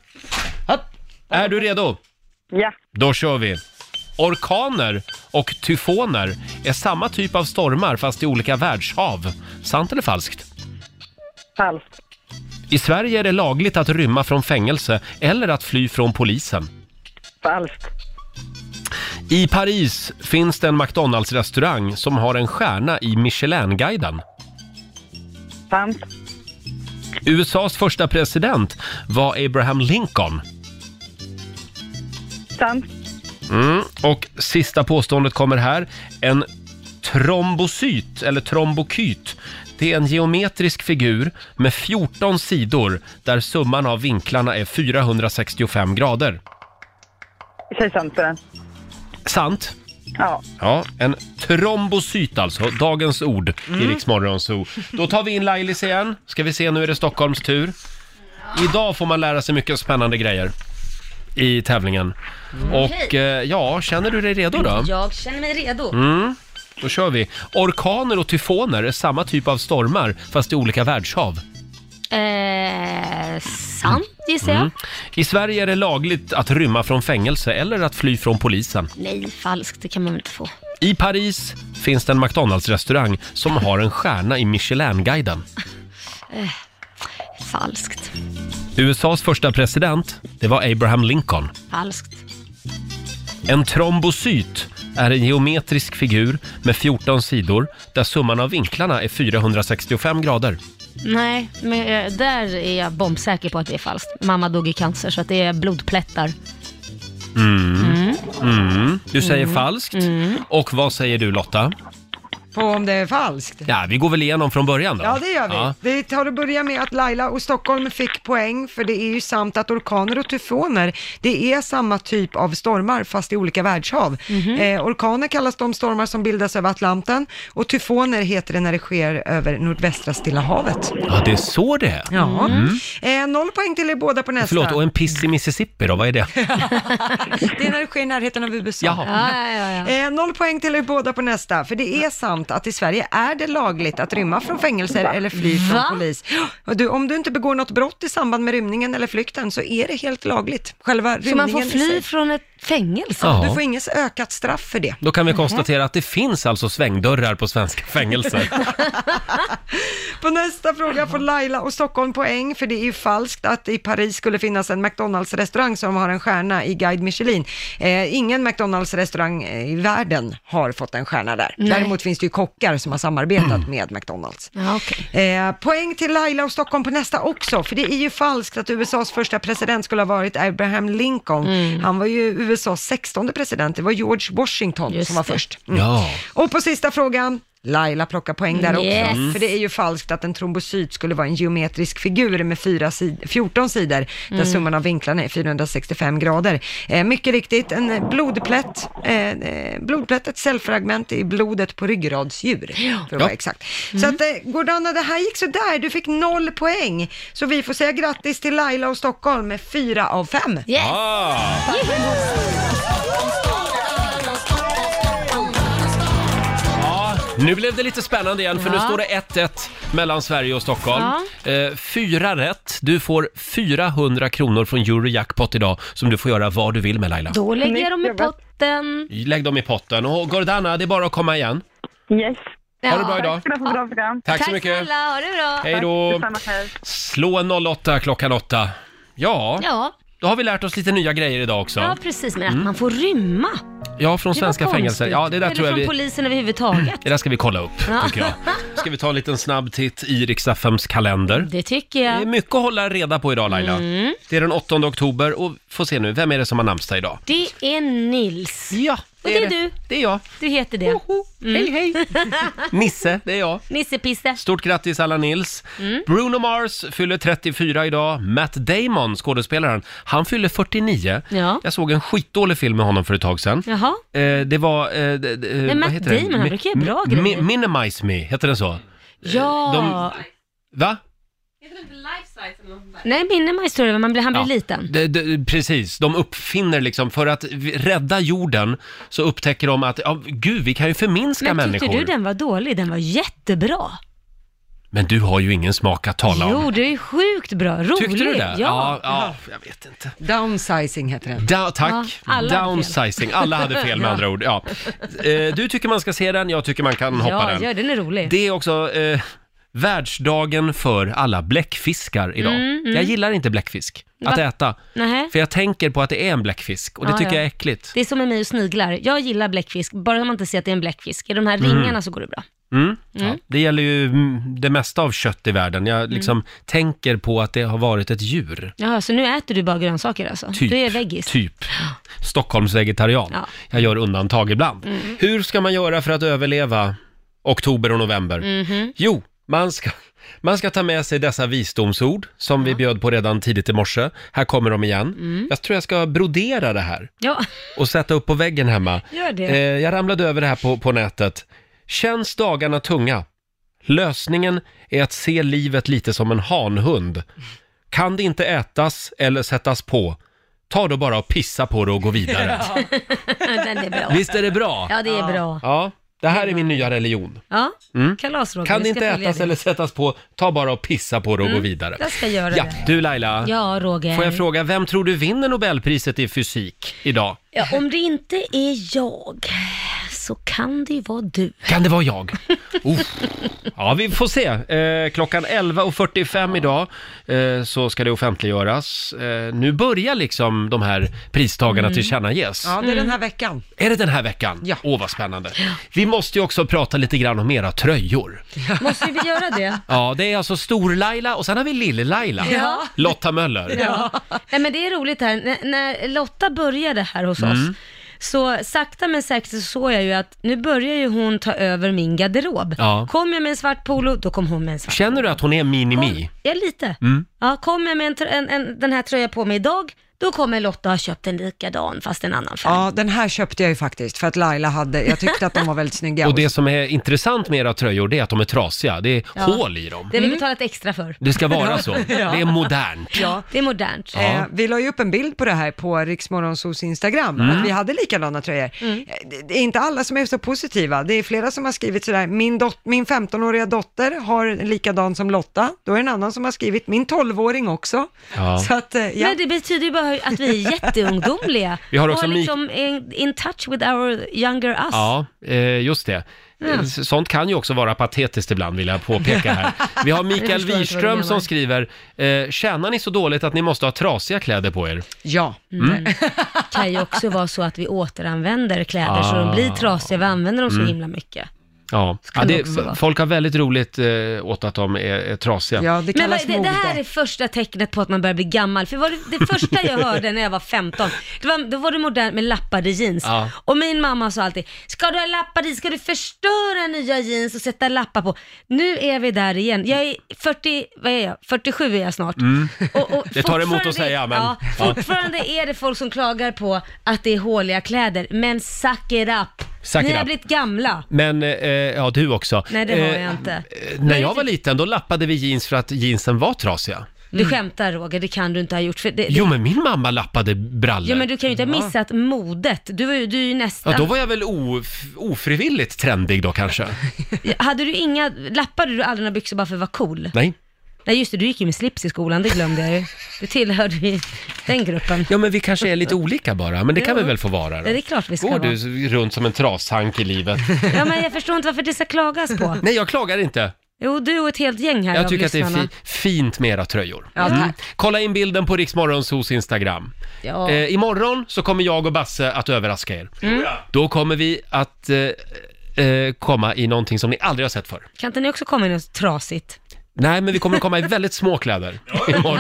Speaker 1: Hopp. Är du redo?
Speaker 15: Ja.
Speaker 1: Då kör vi! Orkaner och tyfoner är samma typ av stormar fast i olika världshav. Sant eller falskt?
Speaker 15: Falskt.
Speaker 1: I Sverige är det lagligt att rymma från fängelse eller att fly från polisen.
Speaker 15: Falskt.
Speaker 1: I Paris finns det en McDonalds-restaurang som har en stjärna i Michelin-guiden.
Speaker 15: Sant.
Speaker 1: USAs första president var Abraham Lincoln.
Speaker 15: Sant.
Speaker 1: Mm. Och sista påståendet kommer här. En trombocyt, eller trombokyt, det är en geometrisk figur med 14 sidor där summan av vinklarna är 465 grader.
Speaker 15: Säg sant på den.
Speaker 1: Sant?
Speaker 15: Ja.
Speaker 1: Ja, en trombocyt alltså. Dagens ord i
Speaker 15: Mm.
Speaker 1: Rix Morgon Zoo. Då tar vi in Lailis igen. Ska vi se, nu är det Stockholms tur. Idag får man lära sig mycket spännande grejer i tävlingen. Och eh, ja, känner du dig redo då?
Speaker 2: Jag känner mig redo.
Speaker 1: Mm, då kör vi. Orkaner och tyfoner är samma typ av stormar fast i olika världshav.
Speaker 2: Eh, sant gissar jag.
Speaker 1: Mm. I Sverige är det lagligt att rymma från fängelse eller att fly från polisen.
Speaker 2: Nej, falskt. Det kan man väl inte få.
Speaker 1: I Paris finns det en McDonalds-restaurang som har en stjärna i Michelin-guiden.
Speaker 2: Eh, falskt.
Speaker 1: USAs första president, det var Abraham Lincoln.
Speaker 2: Falskt.
Speaker 1: En trombocyt är en geometrisk figur med 14 sidor där summan av vinklarna är 465 grader.
Speaker 2: Nej, men eh, där är jag bombsäker på att det är falskt. Mamma dog i cancer så att det är blodplättar.
Speaker 1: Mm. Mm. Du säger
Speaker 3: Mm.
Speaker 1: falskt. Och vad säger du Lotta?
Speaker 3: På om det är falskt.
Speaker 1: Ja, vi går väl igenom från början då?
Speaker 3: Ja, det gör vi.
Speaker 1: Ja.
Speaker 3: Vi tar och börjar med att Laila och Stockholm fick poäng, för det är ju sant att orkaner och tyfoner, det är samma typ av stormar fast i olika världshav. Eh, orkaner kallas de stormar som bildas över Atlanten och tyfoner heter det när det sker över nordvästra Stilla havet.
Speaker 1: Ja, det är så det är.
Speaker 3: Ja.
Speaker 1: Mm.
Speaker 3: Eh, noll poäng till er båda på nästa.
Speaker 1: Förlåt, och en piss i Mississippi då, vad är det?
Speaker 3: Det är när det sker i närheten av USA.
Speaker 1: Ja. Ja,
Speaker 2: ja,
Speaker 3: Eh, noll poäng till er båda på nästa, för det är sant samt att i Sverige är det lagligt att rymma från fängelser
Speaker 2: Va?
Speaker 3: eller fly från
Speaker 2: Va?
Speaker 3: polis. Och du, om du inte begår något brott i samband med rymningen eller flykten så är det helt lagligt. Själva
Speaker 2: Så
Speaker 3: rymningen
Speaker 2: man får
Speaker 3: i
Speaker 2: fly
Speaker 3: sig.
Speaker 2: från ett fängelse?
Speaker 3: Ja.
Speaker 1: Ja.
Speaker 3: Du får inget ökat straff för det.
Speaker 1: Då kan vi konstatera att det finns alltså svängdörrar på svenska fängelser.
Speaker 3: På nästa fråga får Laila och Stockholm poäng, för det är ju falskt att i Paris skulle finnas en McDonalds-restaurang som har en stjärna i Guide Michelin. Eh, ingen McDonalds-restaurang eh, i världen har fått en stjärna där.
Speaker 2: Nej. Mm.
Speaker 3: Däremot finns det ju kockar som har samarbetat med McDonalds.
Speaker 2: Ja, okej.
Speaker 3: Eh, poäng till Laila och Stockholm på nästa också, för det är ju falskt att USAs första president skulle ha varit Abraham Lincoln.
Speaker 2: Mm.
Speaker 3: Han var ju USAs 16 president, det var George Washington som var
Speaker 2: det.
Speaker 3: först.
Speaker 1: Ja.
Speaker 3: Och på sista frågan, Laila plockar poäng där också.
Speaker 2: Yes. Mm.
Speaker 3: För det är ju falskt att en trombocyt skulle vara en geometrisk figur med fyra sid- 14 sidor, där
Speaker 2: Mm.
Speaker 3: summan av vinklarna är 465 grader. Eh, mycket riktigt, en eh, blodplätt, eh, eh, blodplätt, ett cellfragment i blodet på ryggradsdjur, för att
Speaker 2: Ja.
Speaker 3: vara
Speaker 2: Mm.
Speaker 3: exakt. Så att, eh, Gordana, det här gick så där. du fick noll poäng. Så vi får säga grattis till Laila och Stockholm med fyra av fem.
Speaker 1: Ah. Nu blev det lite spännande igen för nu
Speaker 2: Ja.
Speaker 1: står det 1-1 mellan Sverige och Stockholm. Eh, fyra rätt. Du får 400 kronor från Eurojackpot idag som du får göra vad du vill med Laila.
Speaker 2: Då lägger jag dem i potten.
Speaker 1: Lägg dem i potten. Och Gordana, det är bara att komma igen.
Speaker 15: Yes.
Speaker 1: Ha det bra idag.
Speaker 15: Tack för ett bra program.
Speaker 1: Tack så Tack mycket. snälla,
Speaker 2: ha det bra.
Speaker 1: Hej då.
Speaker 15: Detsamma, hej.
Speaker 1: Slå en 08 klockan 8. Ja,
Speaker 2: Ja.
Speaker 1: då har vi lärt oss lite nya grejer idag också.
Speaker 2: ja, precis. Men att man får rymma.
Speaker 1: Ja, Mm. från
Speaker 2: Det var
Speaker 1: svenska
Speaker 2: konstigt.
Speaker 1: fängelser. Ja, det där
Speaker 2: Eller
Speaker 1: tror jag
Speaker 2: från
Speaker 1: vi...
Speaker 2: polisen överhuvudtaget.
Speaker 1: Det där ska vi kolla upp,
Speaker 2: Ja.
Speaker 1: tycker jag. Ska vi ta en liten snabb titt i Riks-FMs kalender?
Speaker 2: Det tycker jag.
Speaker 1: Det är mycket att hålla reda på idag Laila.
Speaker 2: Mm.
Speaker 1: Det är den 8 oktober och få se nu, vem är det som har namnsdag idag?
Speaker 2: Det är Nils.
Speaker 1: Ja,
Speaker 2: det Och det är,
Speaker 1: det.
Speaker 2: du.
Speaker 1: Det är jag.
Speaker 2: Du heter det. Mm.
Speaker 1: Hej, hej.
Speaker 2: Ah.
Speaker 1: Nisse, det är jag.
Speaker 2: Nissepisse.
Speaker 1: Stort grattis alla Nils.
Speaker 2: Mm.
Speaker 1: Bruno Mars fyller 34 idag. Matt Damon, skådespelaren, han fyller 49.
Speaker 2: Ja.
Speaker 1: Jag såg en skitdålig film med honom för ett tag sedan.
Speaker 2: Jaha.
Speaker 1: Eh, det var... Eh, d- d- eh,
Speaker 2: Men Matt
Speaker 1: vad heter det?
Speaker 2: Damon, han
Speaker 1: Mi-
Speaker 2: brukar ju bra
Speaker 1: mi-
Speaker 2: grejer.
Speaker 1: Minimize Me, heter den så?
Speaker 2: Ja.
Speaker 1: Va?
Speaker 2: Nej, Minimize tror jag det var. man blir, han blir
Speaker 1: Ja.
Speaker 2: liten.
Speaker 1: Det- det- precis, de uppfinner liksom, för att vi- rädda jorden så upptäcker de att, ja, gud vi kan ju förminska
Speaker 2: Men tyckte
Speaker 1: människor.
Speaker 2: du den var dålig? Den var jättebra.
Speaker 1: Men du har ju ingen smak att tala om.
Speaker 2: Jo, det är sjukt bra. Rolig.
Speaker 1: Tyckte du det?
Speaker 2: Ja.
Speaker 1: ja, jag vet inte.
Speaker 3: Downsizing heter den.
Speaker 1: Da-
Speaker 2: Ja,
Speaker 1: tack.
Speaker 2: alla hade fel.
Speaker 1: Downsizing. Alla hade fel med
Speaker 2: Ja.
Speaker 1: andra ord. Ja. Eh, du tycker man ska se den, jag tycker man kan hoppa
Speaker 2: ja,
Speaker 1: den.
Speaker 2: ja, den är rolig.
Speaker 1: Det är också eh, världsdagen för alla bläckfiskar idag.
Speaker 2: Mm, mm.
Speaker 1: Jag gillar inte bläckfisk, att
Speaker 2: Va?
Speaker 1: äta.
Speaker 2: Nähä.
Speaker 1: För jag tänker på att det är en bläckfisk och det
Speaker 2: Ja,
Speaker 1: tycker
Speaker 2: ja.
Speaker 1: jag är äckligt.
Speaker 2: Det är som med mig och sniglar. Jag gillar bläckfisk, bara man inte ser att det är en bläckfisk. I de här
Speaker 1: Mm.
Speaker 2: ringarna så går det bra.
Speaker 1: Mm.
Speaker 2: Mm.
Speaker 1: Ja, det gäller ju mm, det mesta av kött i världen. Jag liksom tänker på att det har varit ett djur.
Speaker 2: Ja, så nu äter du bara grönsaker alltså?
Speaker 1: Typ.
Speaker 2: Du är veggis?
Speaker 1: Typ. Stockholmsvegetarian.
Speaker 2: Ja.
Speaker 1: Jag gör undantag ibland.
Speaker 2: Mm.
Speaker 1: Hur ska man göra för att överleva oktober och november?
Speaker 2: Mhm.
Speaker 1: Jo, man ska, man ska ta med sig dessa visdomsord som vi bjöd på redan tidigt i morse. Här kommer de igen.
Speaker 2: Mm.
Speaker 1: Jag tror jag ska brodera det här
Speaker 2: Ja,
Speaker 1: och sätta upp på väggen hemma.
Speaker 2: gör det.
Speaker 1: Eh, jag ramlade över det här på, på nätet. Känns dagarna tunga? Lösningen är att se livet lite som en hanhund. Kan det inte ätas eller sättas på? Ta då bara och pissa på det och gå vidare.
Speaker 2: den är bra.
Speaker 1: Visst är det bra?
Speaker 2: Ja, det är bra.
Speaker 1: Ja, det här är min nya religion.
Speaker 2: Ja,
Speaker 1: Mm.
Speaker 2: kalas Roger.
Speaker 1: Kan
Speaker 2: Vi
Speaker 1: det
Speaker 2: ska
Speaker 1: inte
Speaker 2: följa
Speaker 1: ätas
Speaker 2: det.
Speaker 1: eller sättas på, ta bara och pissa på det och
Speaker 2: Mm.
Speaker 1: gå vidare.
Speaker 2: Jag ska göra
Speaker 1: Ja,
Speaker 2: det.
Speaker 1: du Laila.
Speaker 2: Ja, Roger.
Speaker 1: Får jag fråga, vem tror du vinner Nobelpriset i fysik idag?
Speaker 2: Ja, om det inte är jag så kan det ju vara du.
Speaker 1: Kan det vara jag? Uff. Ja, vi får se. Eh, klockan 11.45 idag eh, så ska det offentliggöras. Eh, nu börjar liksom de här pristagarna
Speaker 3: Mm.
Speaker 1: tillkännages.
Speaker 3: Ja, det är den här veckan.
Speaker 1: Mm. Är det den här veckan? Ja. Åh, vad spännande. Vi måste ju också prata lite grann om era tröjor.
Speaker 2: Måste vi göra det?
Speaker 1: Ja, det är alltså Stor-Laila och sen har vi Lille-Laila.
Speaker 2: Ja.
Speaker 1: Lotta Möller.
Speaker 2: Ja. Nej, men det är roligt här. N- när Lotta började här hos
Speaker 1: Mm.
Speaker 2: oss, så sakta men säkert så såg jag ju att nu börjar ju hon ta över min garderob.
Speaker 1: Ja.
Speaker 2: Kom jag med en svart polo, då kom hon med en svart.
Speaker 1: Känner du att hon är mini-mi?
Speaker 2: Ja, lite.
Speaker 1: Mm.
Speaker 2: Ja, kom jag med en, tr- en, en, den här tröjan på mig idag, Då kommer Lotta ha köpt en likadan fast en annan färg.
Speaker 3: Ja, den här köpte jag ju faktiskt för att Laila hade, jag tyckte att de var väldigt snygga.
Speaker 1: Och det som är intressant med era tröjor det är att de är trasiga. Det är
Speaker 2: Ja.
Speaker 1: hål i dem.
Speaker 2: Det har vi betalat extra för.
Speaker 1: Det ska vara så. Det är modernt.
Speaker 2: Ja, det är modernt.
Speaker 3: Eh, vi la ju upp en bild på det här på Riksmorgonsos Instagram,
Speaker 1: Mm.
Speaker 3: att vi hade likadana tröjor.
Speaker 2: Mm.
Speaker 3: Eh, Det, det är inte alla som är så positiva, det är flera som har skrivit sådär, min, dot- min 15-åriga dotter har en likadan som Lotta, då är det en annan som har skrivit, min 12-åring också.
Speaker 1: Ja.
Speaker 3: Så att, eh, ja.
Speaker 2: Men det betyder ju bara att vi är jätteungdomliga.
Speaker 1: Vi har också
Speaker 2: och
Speaker 1: Mik-
Speaker 2: liksom in, in touch with our younger us.
Speaker 1: Ja, eh, just det.
Speaker 2: Ja.
Speaker 1: Eh, s- Sånt kan ju också vara patetiskt ibland vill jag påpeka här. Vi har
Speaker 2: Jag
Speaker 1: Mikael
Speaker 2: förstår inte vad du
Speaker 1: Wirström
Speaker 2: menar.
Speaker 1: som skriver, eh, tjänar ni så dåligt att ni måste ha trasiga kläder på er?
Speaker 3: Ja.
Speaker 1: Mm.
Speaker 2: kan ju också vara så att vi återanvänder kläder så
Speaker 1: Ah.
Speaker 2: de blir trasiga, vi använder dem så
Speaker 1: Mm.
Speaker 2: himla mycket.
Speaker 1: Ja, ja
Speaker 2: det
Speaker 1: det,
Speaker 2: också vara.
Speaker 1: folk har väldigt roligt eh, åt att de är, är trasiga.
Speaker 2: Men vad, det, det här är första tecknet på att man börjar bli gammal. För vad, det- det första jag hörde när jag var 15, det var, då var det modernt med lappade jeans.
Speaker 1: Ja.
Speaker 2: Och min mamma sa alltid, ska du ha lappar i, ska du förstöra nya jeans och sätta lappar på? Nu är vi där igen. Jag är 40, vad är jag? 47 är jag snart.
Speaker 1: Mm.
Speaker 2: Och, och
Speaker 1: Det tar emot
Speaker 2: fortfarande-
Speaker 1: att säga, men...
Speaker 2: Ja, fortfarande är det folk som klagar på att det är håliga kläder, men suck it up.
Speaker 1: Suck
Speaker 2: Ni
Speaker 1: it
Speaker 2: har
Speaker 1: up.
Speaker 2: blivit gamla.
Speaker 1: Men, eh, ja du också.
Speaker 2: Nej, det har
Speaker 1: Eh,
Speaker 2: jag inte.
Speaker 1: eh, När jag var liten, då lappade vi jeans för att jeansen var trasiga.
Speaker 2: Du skämtar Roger, det kan du inte ha gjort. För det,
Speaker 1: Mm. Jo, men min mamma lappade brallor.
Speaker 2: Ja men du kan ju inte ha missat modet. Du, var ju- du är ju nästan...
Speaker 1: Ja, då var jag väl of- ofrivilligt trendig då kanske.
Speaker 2: Hade du inga, lappade du aldrig några byxor bara för att vara cool?
Speaker 1: Nej.
Speaker 2: Nej just det, du gick ju med slips i skolan, det glömde jag ju. Du tillhörde ju den gruppen.
Speaker 1: Ja, men vi kanske är lite olika bara, men det kan
Speaker 2: Ja.
Speaker 1: vi väl få vara då?
Speaker 2: Ja, det är klart vi ska
Speaker 1: Går
Speaker 2: vara.
Speaker 1: du runt som en trashank i livet?
Speaker 2: Ja men jag förstår inte varför det ska klagas på.
Speaker 1: Nej, jag klagar inte.
Speaker 2: Jo, du och ett helt gäng här
Speaker 1: Jag
Speaker 2: av
Speaker 1: tycker att det är
Speaker 2: lyssnarna.
Speaker 1: fi- fint med era tröjor. Mm.
Speaker 2: Ja, tack.
Speaker 1: Kolla in bilden på Riksmorgonsos Instagram.
Speaker 2: Ja.
Speaker 1: Eh, imorgon så kommer jag och Basse att överraska er.
Speaker 2: Mm.
Speaker 1: Då kommer vi att eh, eh, komma i någonting som ni aldrig har sett förr.
Speaker 2: Kan inte ni också komma i något trasigt?
Speaker 1: Nej, men vi kommer att komma i väldigt små kläder imorgon.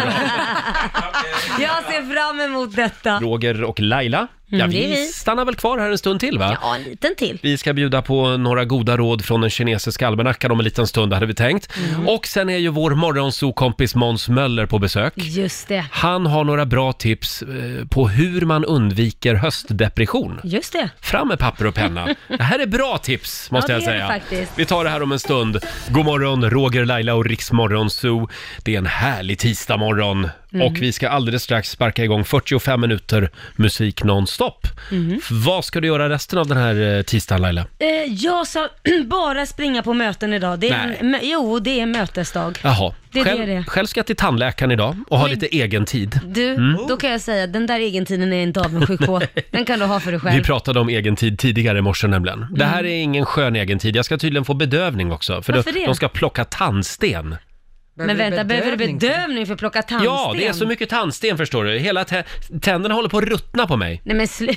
Speaker 2: Jag ser fram emot detta.
Speaker 1: Roger och Laila, ja,
Speaker 2: Mm, det är
Speaker 1: vi
Speaker 2: vi.
Speaker 1: stannar väl kvar här en stund till va?
Speaker 2: Ja, en liten till.
Speaker 1: Vi ska bjuda på några goda råd från den kinesiska almanackan om en liten stund hade vi tänkt.
Speaker 2: Mm.
Speaker 1: Och sen är ju vår morgonsokompis Måns Möller på besök.
Speaker 2: Just det.
Speaker 1: Han har några bra tips eh, på hur man undviker höstdepression.
Speaker 2: Just det.
Speaker 1: Fram med papper och penna. Det här är bra tips, måste
Speaker 2: Ja,
Speaker 1: jag
Speaker 2: det är det
Speaker 1: säga.
Speaker 2: faktiskt.
Speaker 1: Vi tar det här om en stund. God morgon, Roger, Laila och Riksmorgon Zoo. Det är en härlig tisdagmorgon
Speaker 5: Mm.
Speaker 1: och vi ska alldeles strax sparka igång 45 minuter musik nonstop.
Speaker 2: Mm.
Speaker 1: Vad ska du göra resten av den här eh, tisdagen, Laila?
Speaker 2: Eh, jag sa bara springa på möten idag. Det är en, mö- jo, det är mötesdag.
Speaker 1: Jaha,
Speaker 2: Det är det
Speaker 1: själv,
Speaker 2: det är.
Speaker 1: själv ska jag till tandläkaren idag och ha
Speaker 2: Men-
Speaker 1: lite egen tid.
Speaker 2: Du,
Speaker 1: Mm.
Speaker 2: då kan jag säga den där egentiden är inte avundsjuk på. Den kan du ha för dig själv.
Speaker 1: Vi pratade om egen tid tidigare i morse nämligen. Det här är ingen skön egen tid. Jag ska tydligen få bedövning också, för
Speaker 2: Mm. Varför
Speaker 1: de,
Speaker 2: det?
Speaker 1: de ska plocka tandsten.
Speaker 2: Men vänta, behöver du bedövning för att plocka tandsten?
Speaker 1: Ja, det är så mycket tandsten förstår du. Hela tä- tänderna håller på att ruttna på mig.
Speaker 2: Nej men slu...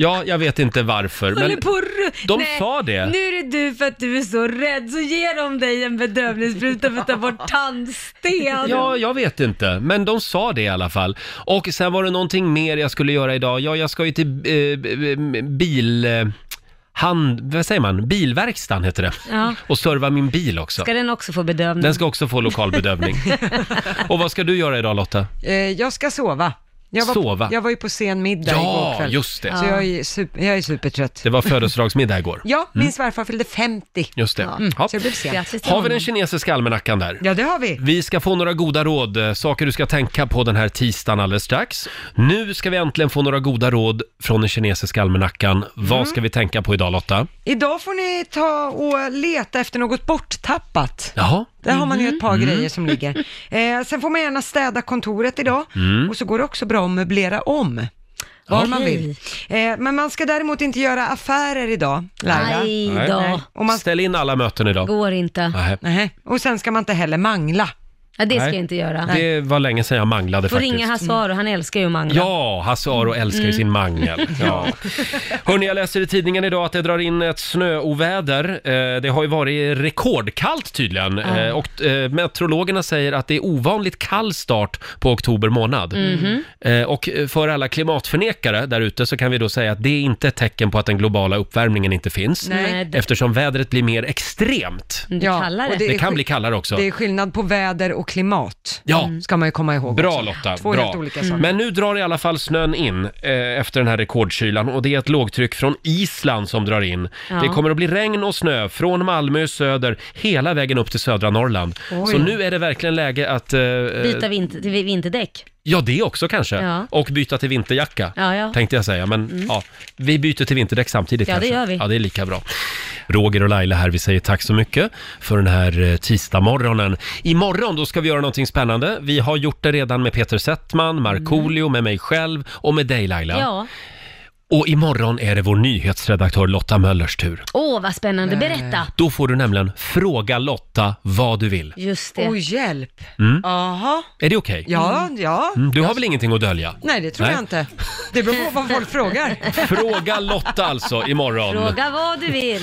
Speaker 1: Ja, jag vet inte varför.
Speaker 2: Håller
Speaker 1: Men
Speaker 2: på och ru-
Speaker 1: de
Speaker 2: Nej,
Speaker 1: sa det.
Speaker 2: Nu är det du för att du är så rädd, så ger de dig en bedövningsspruta för att ta bort tandsten.
Speaker 1: Ja, jag vet inte. Men de sa det i alla fall. Och sen var det någonting mer jag skulle göra idag. Ja, jag ska ju till eh, b- b- bil... Eh, hand, vad säger man? Bilverkstan heter det.
Speaker 2: Ja.
Speaker 1: Och serva min bil också.
Speaker 2: Ska den också få
Speaker 3: Mm.
Speaker 2: bedövning?
Speaker 1: Den ska också få lokalbedövning. Och vad ska du göra idag Lotta?
Speaker 3: Eh, jag ska sova. Jag var,
Speaker 1: Sova.
Speaker 3: Jag var ju på sen middag
Speaker 1: Ja,
Speaker 3: igår kväll.
Speaker 1: just det.
Speaker 3: Så jag är, super, jag är supertrött.
Speaker 1: Det var födelsedagsmiddag igår.
Speaker 3: Ja, min
Speaker 1: Mm.
Speaker 3: svärfar fyllde 50.
Speaker 1: Just det.
Speaker 2: Mm.
Speaker 3: Ja.
Speaker 1: Ja.
Speaker 3: Så det blev sent.
Speaker 1: Har vi den kinesiska almanackan där?
Speaker 3: Ja, det har vi.
Speaker 1: Vi ska få några goda råd, eh, saker du ska tänka på den här tisdagen alldeles strax. Nu ska vi äntligen få några goda råd från den kinesiska almanackan.
Speaker 3: Mm.
Speaker 1: Vad ska vi tänka på idag Lotta?
Speaker 3: Idag får ni ta och leta efter något borttappat.
Speaker 1: Jaha?
Speaker 3: Där har man ju ett par
Speaker 1: Mhm.
Speaker 3: grejer som ligger. Eh, sen får man gärna städa kontoret idag
Speaker 1: Mm.
Speaker 3: och så går det också bra att möblera om. Var man vill. Eh, men man ska däremot inte göra affärer idag, Laila.
Speaker 2: Nej
Speaker 1: Nej.
Speaker 2: då.
Speaker 3: Och man
Speaker 1: Ställ in alla möten idag.
Speaker 2: Går inte.
Speaker 1: Nej.
Speaker 3: Nej. Och sen ska man inte heller mangla.
Speaker 2: Ja, det ska
Speaker 1: Nej.
Speaker 2: jag inte göra.
Speaker 1: Det var länge sedan jag manglade
Speaker 2: Får
Speaker 1: faktiskt.
Speaker 2: ringa Hasse Aro, han älskar ju att mangla.
Speaker 1: Ja, Hasse Aro älskar ju
Speaker 2: Mm.
Speaker 1: sin mangel. Ja. Hörni, jag läser i tidningen idag att det drar in ett snöoväder. Eh, Det har ju varit rekordkallt tydligen.
Speaker 2: Ja.
Speaker 1: Eh, Och eh, meteorologerna säger att det är ovanligt kall start på oktober månad.
Speaker 2: Mhm.
Speaker 1: Eh, Och för alla klimatförnekare där ute så kan vi då säga att det är inte ett tecken på att den globala uppvärmningen inte finns.
Speaker 3: Nej.
Speaker 1: Eftersom vädret blir mer extremt.
Speaker 3: Ja,
Speaker 2: kallare.
Speaker 3: och
Speaker 1: Det
Speaker 3: är
Speaker 1: kan
Speaker 3: skill-
Speaker 1: bli kallare också.
Speaker 3: Det är skillnad på väder och och klimat.
Speaker 1: Ja.
Speaker 2: Mm.
Speaker 3: Ska man ju komma ihåg
Speaker 1: Bra
Speaker 3: också.
Speaker 1: Lotta,
Speaker 3: Två
Speaker 1: bra.
Speaker 3: helt olika saker.
Speaker 1: Men nu drar i alla fall snön in eh, efter den här rekordkylan och det är ett lågtryck från Island som drar in.
Speaker 5: Ja.
Speaker 1: Det kommer att bli regn och snö från Malmö i söder hela vägen upp till södra Norrland.
Speaker 2: Oj.
Speaker 1: Så nu är det verkligen läge att... eh,
Speaker 2: Byta vinter, till vinterdäck.
Speaker 1: Ja, det också kanske.
Speaker 2: Ja.
Speaker 1: Och byta till vinterjacka,
Speaker 2: Ja, ja.
Speaker 1: tänkte jag säga. Men
Speaker 2: Mm.
Speaker 1: ja, vi byter till vinterdäck samtidigt
Speaker 2: Ja, det
Speaker 1: kanske.
Speaker 2: gör vi.
Speaker 1: Ja, det är lika bra. Roger och Laila här, vi säger tack så mycket för den här eh, tisdagmorgonen. Imorgon då ska vi göra någonting spännande. Vi har gjort det redan med Peter Settman, Markoolio, med mig själv och med dig Laila.
Speaker 2: Mm. Ja.
Speaker 1: Och imorgon är det vår nyhetsredaktör Lotta Möllers tur.
Speaker 2: Åh, vad spännande. Berätta.
Speaker 1: Då får du nämligen fråga Lotta vad du vill.
Speaker 2: Just det.
Speaker 3: Åh, hjälp.
Speaker 1: Mm.
Speaker 3: Jaha.
Speaker 1: Är det okej?
Speaker 3: Ja, ja.
Speaker 1: Mm, du har väl ingenting att dölja?
Speaker 3: Nej, det tror
Speaker 1: Nej.
Speaker 3: jag inte. Det beror på vad folk frågar.
Speaker 1: Fråga Lotta alltså imorgon.
Speaker 2: Fråga vad du vill.